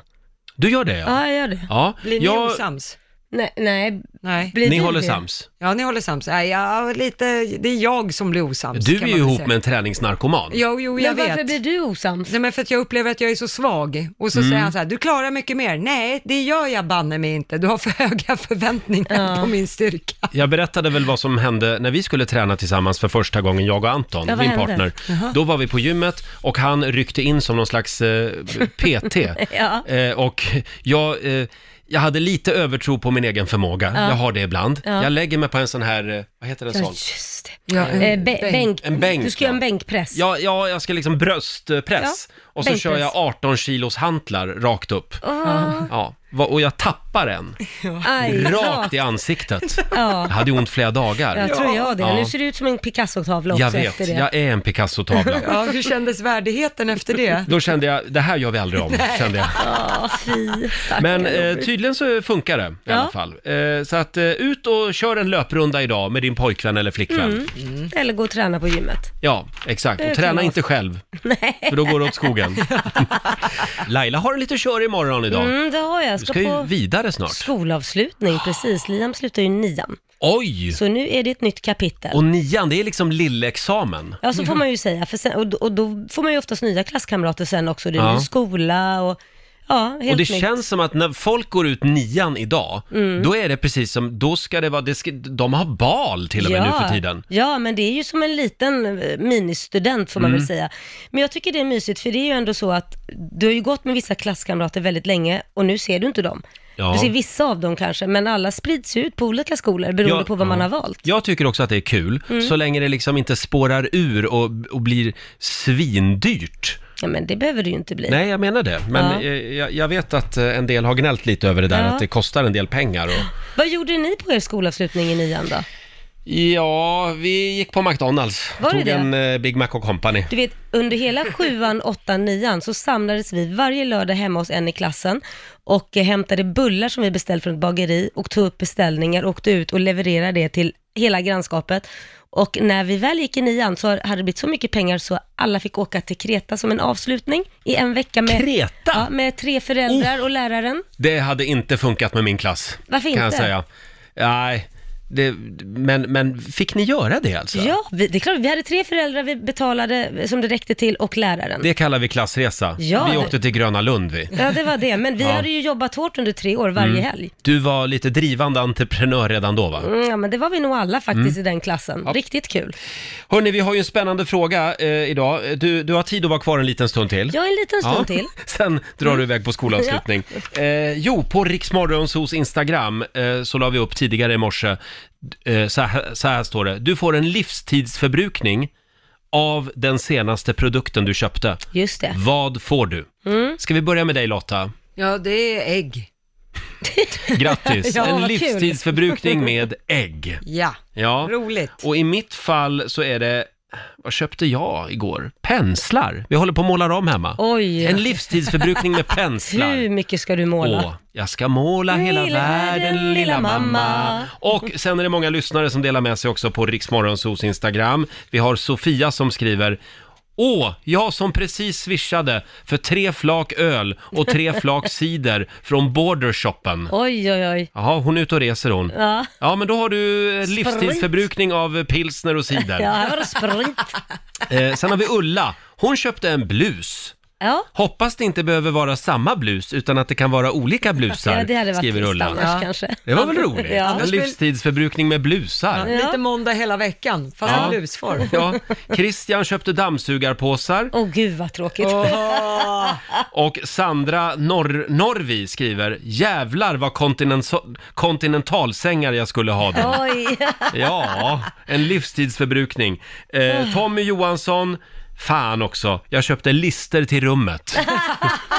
Du gör det Ja. ja? jag gör det. Ja. Jag- osams? Nej, nej. nej. Blir Ni du håller det? sams? Ja, ni håller sams. Nej, ja, lite, det är jag som blir osams. Du är kan ju man väl ihop säga. med en träningsnarkoman. Jo, jo, jag Men vet. varför blir du osams? Nej, men för att jag upplever att jag är så svag. Och så Mm. säger han så här, du klarar mycket mer. Nej, det gör jag banne mig inte. Du har för höga förväntningar på min styrka. Jag berättade väl vad som hände när vi skulle träna tillsammans för första gången, jag och Anton, Ja, vad min hände? partner. Jaha. Då var vi på gymmet och han ryckte in som någon slags eh, PT. Ja. eh, och jag, eh, jag hade lite övertro på min egen förmåga, Ja. jag har det ibland. Ja. Jag lägger mig på en sån här, eh, vad heter den Ja, sån? just det. Ja, Eh, en bä- bänk. En bänk, Du ska göra en bänkpress. Ja, ja, jag ska liksom bröstpress Ja, och så kör jag bänkpress. 18 kilos hantlar rakt upp. Åh. Ja. va- och jag tappar en. Aj, Rakt i ansiktet. Jag Ja. hade ont flera dagar. Jag tror jag det. Ja. Nu ser det ut som en Picasso-tavla också jag vet, efter det. jag är en Picasso-tavla. Ja, hur kändes värdigheten efter det? Då kände jag, det här gör vi aldrig om, kände jag. Ja, fy. stackare. Men eh, tydligen så funkar det i Ja. alla fall. Eh, så att eh, ut och kör en löprunda idag med din pojkvän eller flickvän. Mm. Eller gå och träna på gymmet. Ja, exakt. Det Och träna kan inte vara. själv, Nej. för då går det åt skogen. Laila har en lite kör imorgon idag. Mm, det har jag. Du Ska ska ju på vidare snart. skolavslutning, precis. Liam slutar ju nian. Oj! Så nu är det ett nytt kapitel. Och nian, det är liksom lillexamen. Ja, så får man ju säga. För sen, och, då- och då får man ju oftast nya klasskamrater sen också. Det är Ja. ny skola och ja, helt Och det nytt. känns som att när folk går ut nian idag, Mm. då är det precis som, då ska det vara, det ska, de har bal till och med nu för tiden. Ja, men det är ju som en liten eh, ministudent får man Mm. väl säga. Men jag tycker det är mysigt för det är ju ändå så att du har ju gått med vissa klasskamrater väldigt länge och nu ser du inte dem. Ja. Du ser vissa av dem kanske, men alla sprids ju ut på olika skolor beroende Ja, på vad man ja. har valt. Jag tycker också att det är kul, Mm. så länge det liksom inte spårar ur och, och blir svindyrt. Ja, men det behöver det ju inte bli. Nej, jag menar det. Men Ja. eh, jag, jag vet att eh, en del har gnällt lite över det där, Ja. att det kostar en del pengar. Och... Vad gjorde ni på er skolavslutning i nian då? Ja, vi gick på McDonalds. Var det Tog det? en eh, Big Mac och Company. Du vet, under hela sjuan, åttan, nian så samlades vi varje lördag hemma hos en i klassen och eh, hämtade bullar som vi beställde från ett bageri och tog upp beställningar, åkte ut och levererade det till hela grannskapet. Och när vi väl gick i nian så hade det blivit så mycket pengar så alla fick åka till Kreta som en avslutning i en vecka med, Kreta? Oh. Ja, med tre föräldrar och läraren. Det hade inte funkat med min klass. Varför Kan jag inte? säga. Nej, det, men, men fick ni göra det alltså? Ja, vi, det är klart, vi hade tre föräldrar vi betalade som det räckte till och läraren. Det kallar vi klassresa. Ja, vi det- åkte till Gröna Lund vi. Ja, det var det. Men vi Ja. hade ju jobbat hårt under tre år varje Mm. helg. Du var lite drivande entreprenör redan då va? Mm, ja, men det var vi nog alla faktiskt Mm. i den klassen. Ja. Riktigt kul. Hörni, vi har ju en spännande fråga eh, idag. Du, du har tid att vara kvar en liten stund till. Ja, en liten stund Ja. till. Sen drar du iväg på skolavslutning. Eh, jo, på Riksmorgonsos Instagram eh, så la vi upp tidigare i morse, eh, så, här, så här står det. Du får en livstidsförbrukning av den senaste produkten du köpte. Just det. Vad får du? Mm. Ska vi börja med dig Lotta? Ja, det är ägg. Grattis! Ja, en vad kul. livstidsförbrukning med ägg. Ja, Ja. roligt. Och i mitt fall så är det, vad köpte jag igår? Penslar. Vi håller på att måla om hemma. Oj. En livstidsförbrukning med penslar. Hur mycket ska du måla? Åh, jag ska måla hela Hela världen, världen, lilla lilla mamma. mamma. Och sen är det många lyssnare som delar med sig också på Riksmorgonsos Instagram. Vi har Sofia som skriver Åh, jag som precis swishade för tre flak öl och tre flak cider från Bordershoppen. Oj, oj, oj. Jaha, hon är ute och reser hon. Ja. Ja, men då har du eh, Sprit. livstidsförbrukning av pilsner och cider. Ja, här var det sprit. Eh, sen har vi Ulla. Hon köpte en blus. Ja. Hoppas det inte behöver vara samma blus, utan att det kan vara olika blusar, ja, det hade varit skriver trist Ulla. annars kanske. Det var väl roligt? Ja. En livstidsförbrukning med Ja, blusar. Lite måndag hela veckan, fast Ja. i lusform. Ja, Christian köpte dammsugarpåsar Åh gud vad tråkigt. och Sandra Norr- Norvi skriver “Jävlar vad kontinenso- kontinentalsängar jag skulle ha då. Oj. Ja, en livstidsförbrukning. Eh, Tommy Johansson, fan också, jag köpte lister till rummet.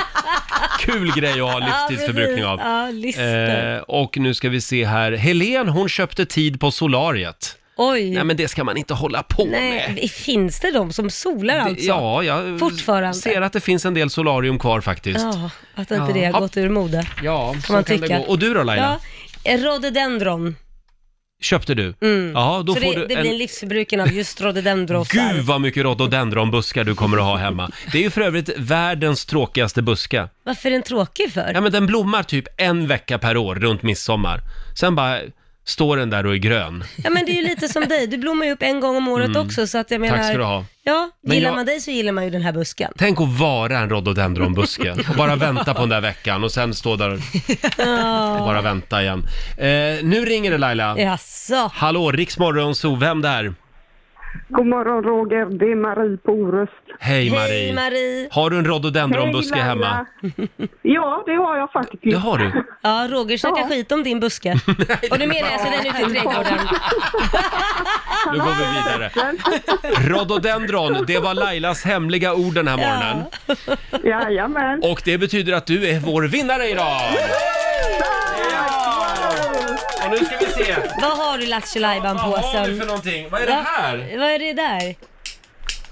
Kul grej att ha livstidsförbrukning av. Ja, lister. Eh, och nu ska vi se här, Helen hon köpte tid på solariet. Oj. Nej men det ska man inte hålla på med. Nej, finns det de som solar alltså? Ja, jag Fortfarande? ser att det finns en del solarium kvar faktiskt. Ja, att inte Ja. det Ja. har gått ur mode. Ja, så kan man kan det tycka. gå. Och du då, Laila? Ja, rhododendron. Köpte du? Mm. Ja, då så får det, du det en... blir en livsförbrukning av just rhododendrosar. Gud vad mycket rhododendronbuskar du kommer att ha hemma. Det är ju för övrigt världens tråkigaste buske. Varför är den tråkig för? Ja men den blommar typ en vecka per år runt midsommar. Sen bara står den där och är grön. Ja men det är ju lite som dig, du blommar ju upp en gång om året Mm. också så att jag menar... Tack ska du ha. Ja, Men gillar jag- man dig så gillar man ju den här busken. Tänk att vara en rhododendronbuske och bara vänta på den där veckan och sen stå där och Ja. bara vänta igen. Eh, nu ringer det Laila. Eh. Jaså? Hallå, Riksmorgon, så vem där? God morgon Roger, det är Marie på Orust. Hej Marie. Har du en rhododendronbuske Hej, Laila. hemma? Ja, det har jag faktiskt. Det har du. Ja, Roger snackar skit om din buske. Och nu menar jag så den ute i trädgården. Nu går vi vidare. Rhododendron, det var Lailas hemliga ord den här morgonen. Jajamän. Och det betyder att du är vår vinnare idag! Och nu ska vi se. Vad har du Lattjo Lajban-påsen? Vad har du för någonting? Vad är det Va? här? Vad är det där?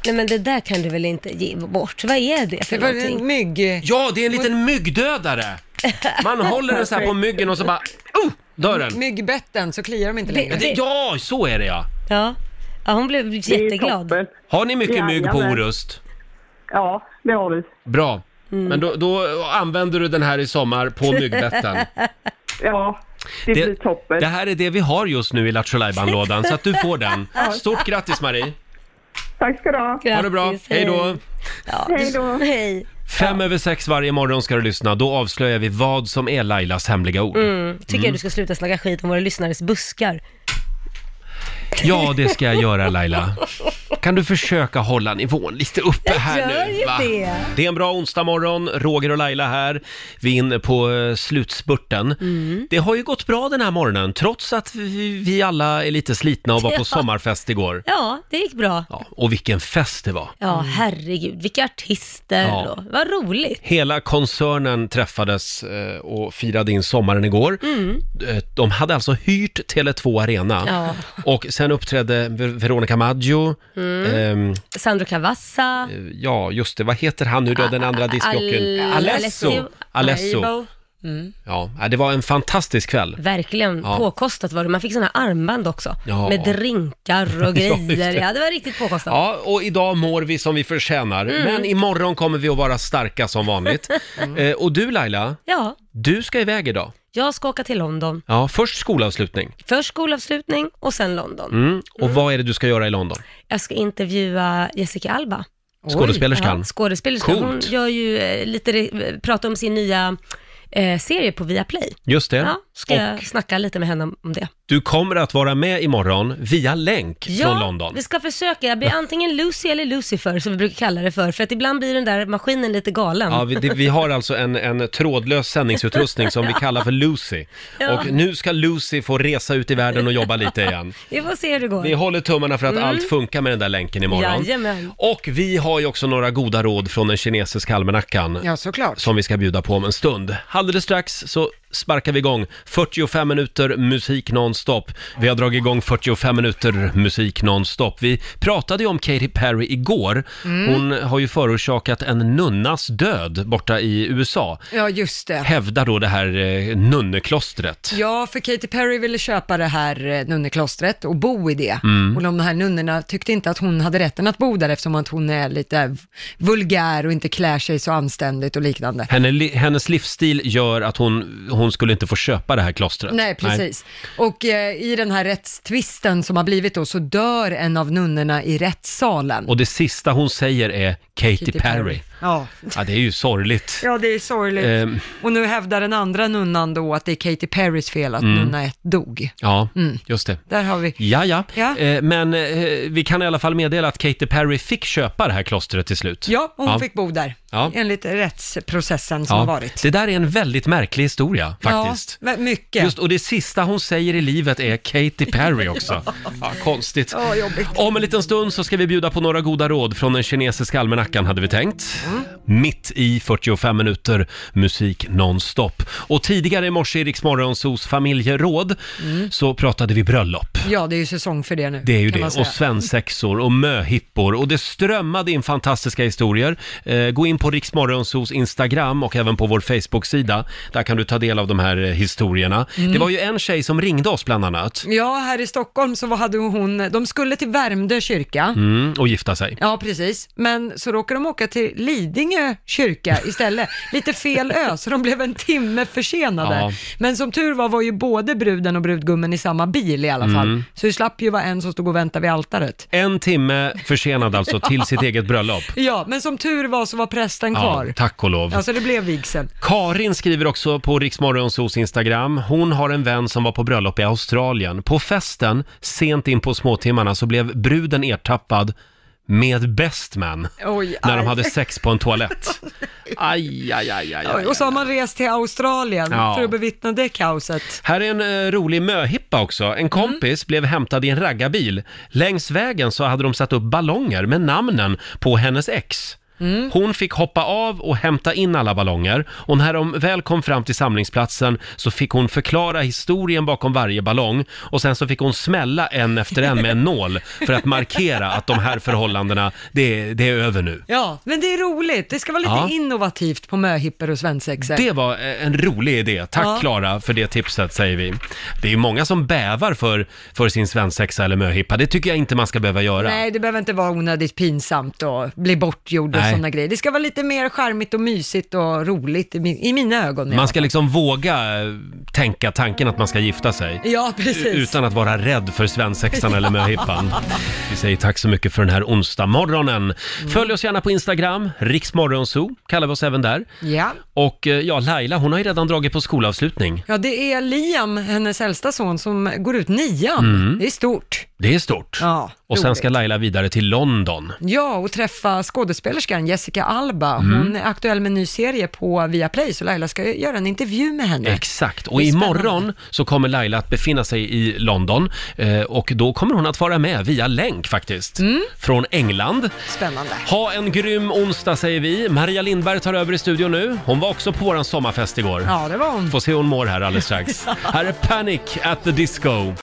Nej men det där kan du väl inte ge bort? Vad är det för Det var någonting? en mygg. Ja, det är en liten myggdödare. Man håller den så här på myggen och så bara, oh, dör Mm. den. Myggbetten så kliar de inte Ja, längre. det- Ja, så är det ja. Ja. ja, hon blev jätteglad. Har ni mycket mygg på Jajamän. Orust? Ja, det har vi. Bra. Men då, då använder du den här i sommar på myggbetten. Ja, det, blir toppen. det här är det vi har just nu i Lattjo lådan så att du får den. Ja. Stort grattis Marie! Tack ska du ha. Ha det bra, hej då! Hej då. Hej. Fem över sex varje morgon ska du lyssna, då avslöjar vi vad som är Lailas hemliga ord. Mm. Tycker Mm. jag du ska sluta snacka skit om våra lyssnares buskar. Ja, det ska jag göra Laila. Kan du försöka hålla nivån lite uppe här gör nu? ju det. det är en bra onsdag morgon. Roger och Laila här. Vi är inne på eh, slutspurten. Mm. Det har ju gått bra den här morgonen, trots att vi, vi alla är lite slitna och var Ja. på sommarfest igår. Ja, det gick bra. Ja, Och vilken fest det var! herregud, vilka artister Mm. Ja. och vad roligt. Hela koncernen träffades eh, och firade in sommaren igår. Mm. Eh, De hade alltså hyrt Tele2 Arena Ja. och sen uppträdde Ver- Veronica Maggio, Mm. ehm, Sandro Cavazza. ja just det, vad heter han nu då, den andra discjockeyn? Al- Alesso! Alesso! Aibo. Mm. Ja, det var en fantastisk kväll. Verkligen Ja. påkostat var det. Man fick sådana här armband också. Ja. Med drinkar och Ja, just det. grejer. Ja, det var riktigt påkostat. Ja, och idag mår vi som vi förtjänar, Mm. men imorgon kommer vi att vara starka som vanligt. Eh, och du Laila, Ja, du ska iväg idag. jag ska åka till London. Ja, först skolavslutning. Först skolavslutning och sen London. Mm. Och vad är det du ska göra i London? Jag ska intervjua Jessica Alba. Skådespelerskan. Ja, skådespelerskan. Hon Coolt. gör ju eh, lite, re- pratar om sin nya eh, serie på Viaplay. Just det. Ja, ska Och jag snacka lite med henne om om det. du kommer att vara med imorgon via länk från London. vi ska försöka. Jag blir antingen Lucy eller Lucifer, som vi brukar kalla det för. För att ibland blir den där maskinen lite galen. Ja, vi, det, vi har alltså en, en trådlös sändningsutrustning som vi kallar för Lucy. Ja. Och nu ska Lucy få resa ut i världen och jobba lite igen. Vi får se hur det går. Vi håller tummarna för att Mm. allt funkar med den där länken imorgon. Jajamän. Och vi har ju också några goda råd från den kinesiska almanackan. Ja, såklart. Som vi ska bjuda på om en stund. Alldeles strax så sparkar vi igång 45 minuter musik nonstop. Vi har dragit igång 45 minuter musik nonstop. Vi pratade ju om Katy Perry igår. Mm. Hon har ju förorsakat en nunnas död borta i USA. Ja, just det. Hävdar då det här eh, nunneklostret. Ja, för Katy Perry ville köpa det här eh, nunneklostret och bo i det. Mm. Och de här nunnorna tyckte inte att hon hade rätten att bo där eftersom att hon är lite vulgär och inte klär sig så anständigt och liknande. Henne, li, hennes livsstil gör att hon, hon skulle inte få köpa det här klostret. Nej, precis. Och eh, i den här rättstvisten som har blivit då så dör en av nunnorna i rättssalen. Och det sista hon säger är Katy, Katy Perry. Perry. Ja. Ja, det är ju sorgligt. Ja, det är sorgligt. Ehm. Och nu hävdar den andra nunnan då att det är Katy Perrys fel att Mm. nunna ett dog. Ja, Mm. just det. Där har vi. Ja, ja. Ja. Eh, men eh, vi kan i alla fall meddela att Katy Perry fick köpa det här klostret till slut. Ja, och hon fick bo där, Ja. enligt rättsprocessen som Ja. har varit. Det där är en väldigt märklig historia faktiskt. Ja, men mycket. Just, och det sista hon säger i livet är Katy Perry också. Ja, konstigt. Ja, jobbigt. Om en liten stund så ska vi bjuda på några goda råd från den kinesiska almanackan hade vi tänkt. Mm. Mitt i 45 minuter musik nonstop. Och tidigare i morse i Rix Morgonzos familjeråd Mm. så pratade vi bröllop. Ja, det är ju säsong för det nu. Det är ju kan det. man säga. Och svensexor och möhippor. Och det strömmade in fantastiska historier. Eh, gå in på Riksmorgonsos Instagram och även på vår Facebook-sida. Där kan du ta del av de här eh, historierna. Mm. Det var ju en tjej som ringde oss bland annat. Ja, här i Stockholm så hade hon, de skulle till Värmdö kyrka. Mm, och gifta sig. Ja, precis. Men så råkade de åka till Lidingö kyrka istället. Lite fel ö, så de blev en timme försenade. Ja. Men som tur var var ju både bruden och brudgummen i samma bil i alla fall. Mm. Så det slapp ju vara en som stod och väntade vid altaret. En timme försenad alltså till Ja. sitt eget bröllop. Ja, men som tur var så var prästen Ja, kvar. tack och lov. Ja, så det blev vigseln. Karin skriver också på Riksmorgonsos Instagram. Hon har en vän som var på bröllop i Australien. På festen, sent in på småtimmarna, så blev bruden ertappad med bestman. Oj, när de aj. hade sex på en toalett. Aj, aj, aj, aj, aj. Och så har man rest till Australien Ja. för att bevittna det kaoset. Här är en eh, rolig möhippa också. En kompis blev hämtad i en raggarbil. Längs vägen så hade de satt upp ballonger med namnen på hennes ex. Hon fick hoppa av och hämta in alla ballonger och när de väl kom fram till samlingsplatsen så fick hon förklara historien bakom varje ballong och sen så fick hon smälla en efter en med en nål för att markera att de här förhållandena, det, är- det är över nu. Ja, men det är roligt. Det ska vara lite Ja. innovativt på möhippor och svensexor. Det var eh, en rolig idé. Ja. Tack Klara för det tipset säger vi. Det är ju många som bävar för, för sin svensexa eller möhippa. Det tycker jag inte man ska behöva göra. Nej, det behöver inte vara onödigt pinsamt och bli bortgjord och Nej. sådana grejer. Det ska vara lite mer charmigt och mysigt och roligt i, min, i mina ögon. i alla Man ska liksom våga eh, tänka tanken att man ska gifta sig. Ja, precis. U- Utan att vara rädd för svensexan eller möhippan. Vi säger tack så mycket för den här onsdag morgonen. Mm. Följ oss gärna på Instagram, riksmorgonzoo kallar vi oss även där. fall. Ja. Och eh, ja, Laila hon har ju redan dragit på skolavslutning. ja, det är Liam, hennes äldsta son, som går ut nian. Mm. Det är stort. Det är stort. Ja, och sen roligt. ska Laila vidare till London. Ja, och träffa skådespelerskan Jessica Alba. Hon Mm. är aktuell med en ny serie på Viaplay, så Laila ska göra en intervju med henne. Exakt, och Det är spännande. imorgon så kommer Laila att befinna sig i London eh, och då kommer hon att vara med via länk faktiskt, Mm. från England. Spännande. Ha en grym onsdag säger vi. Maria Lindberg tar över i studion nu. Hon var också på våran sommarfest igår. Ja, det var hon. Får se hur hon mår här alldeles strax. här är Panic at the Disco.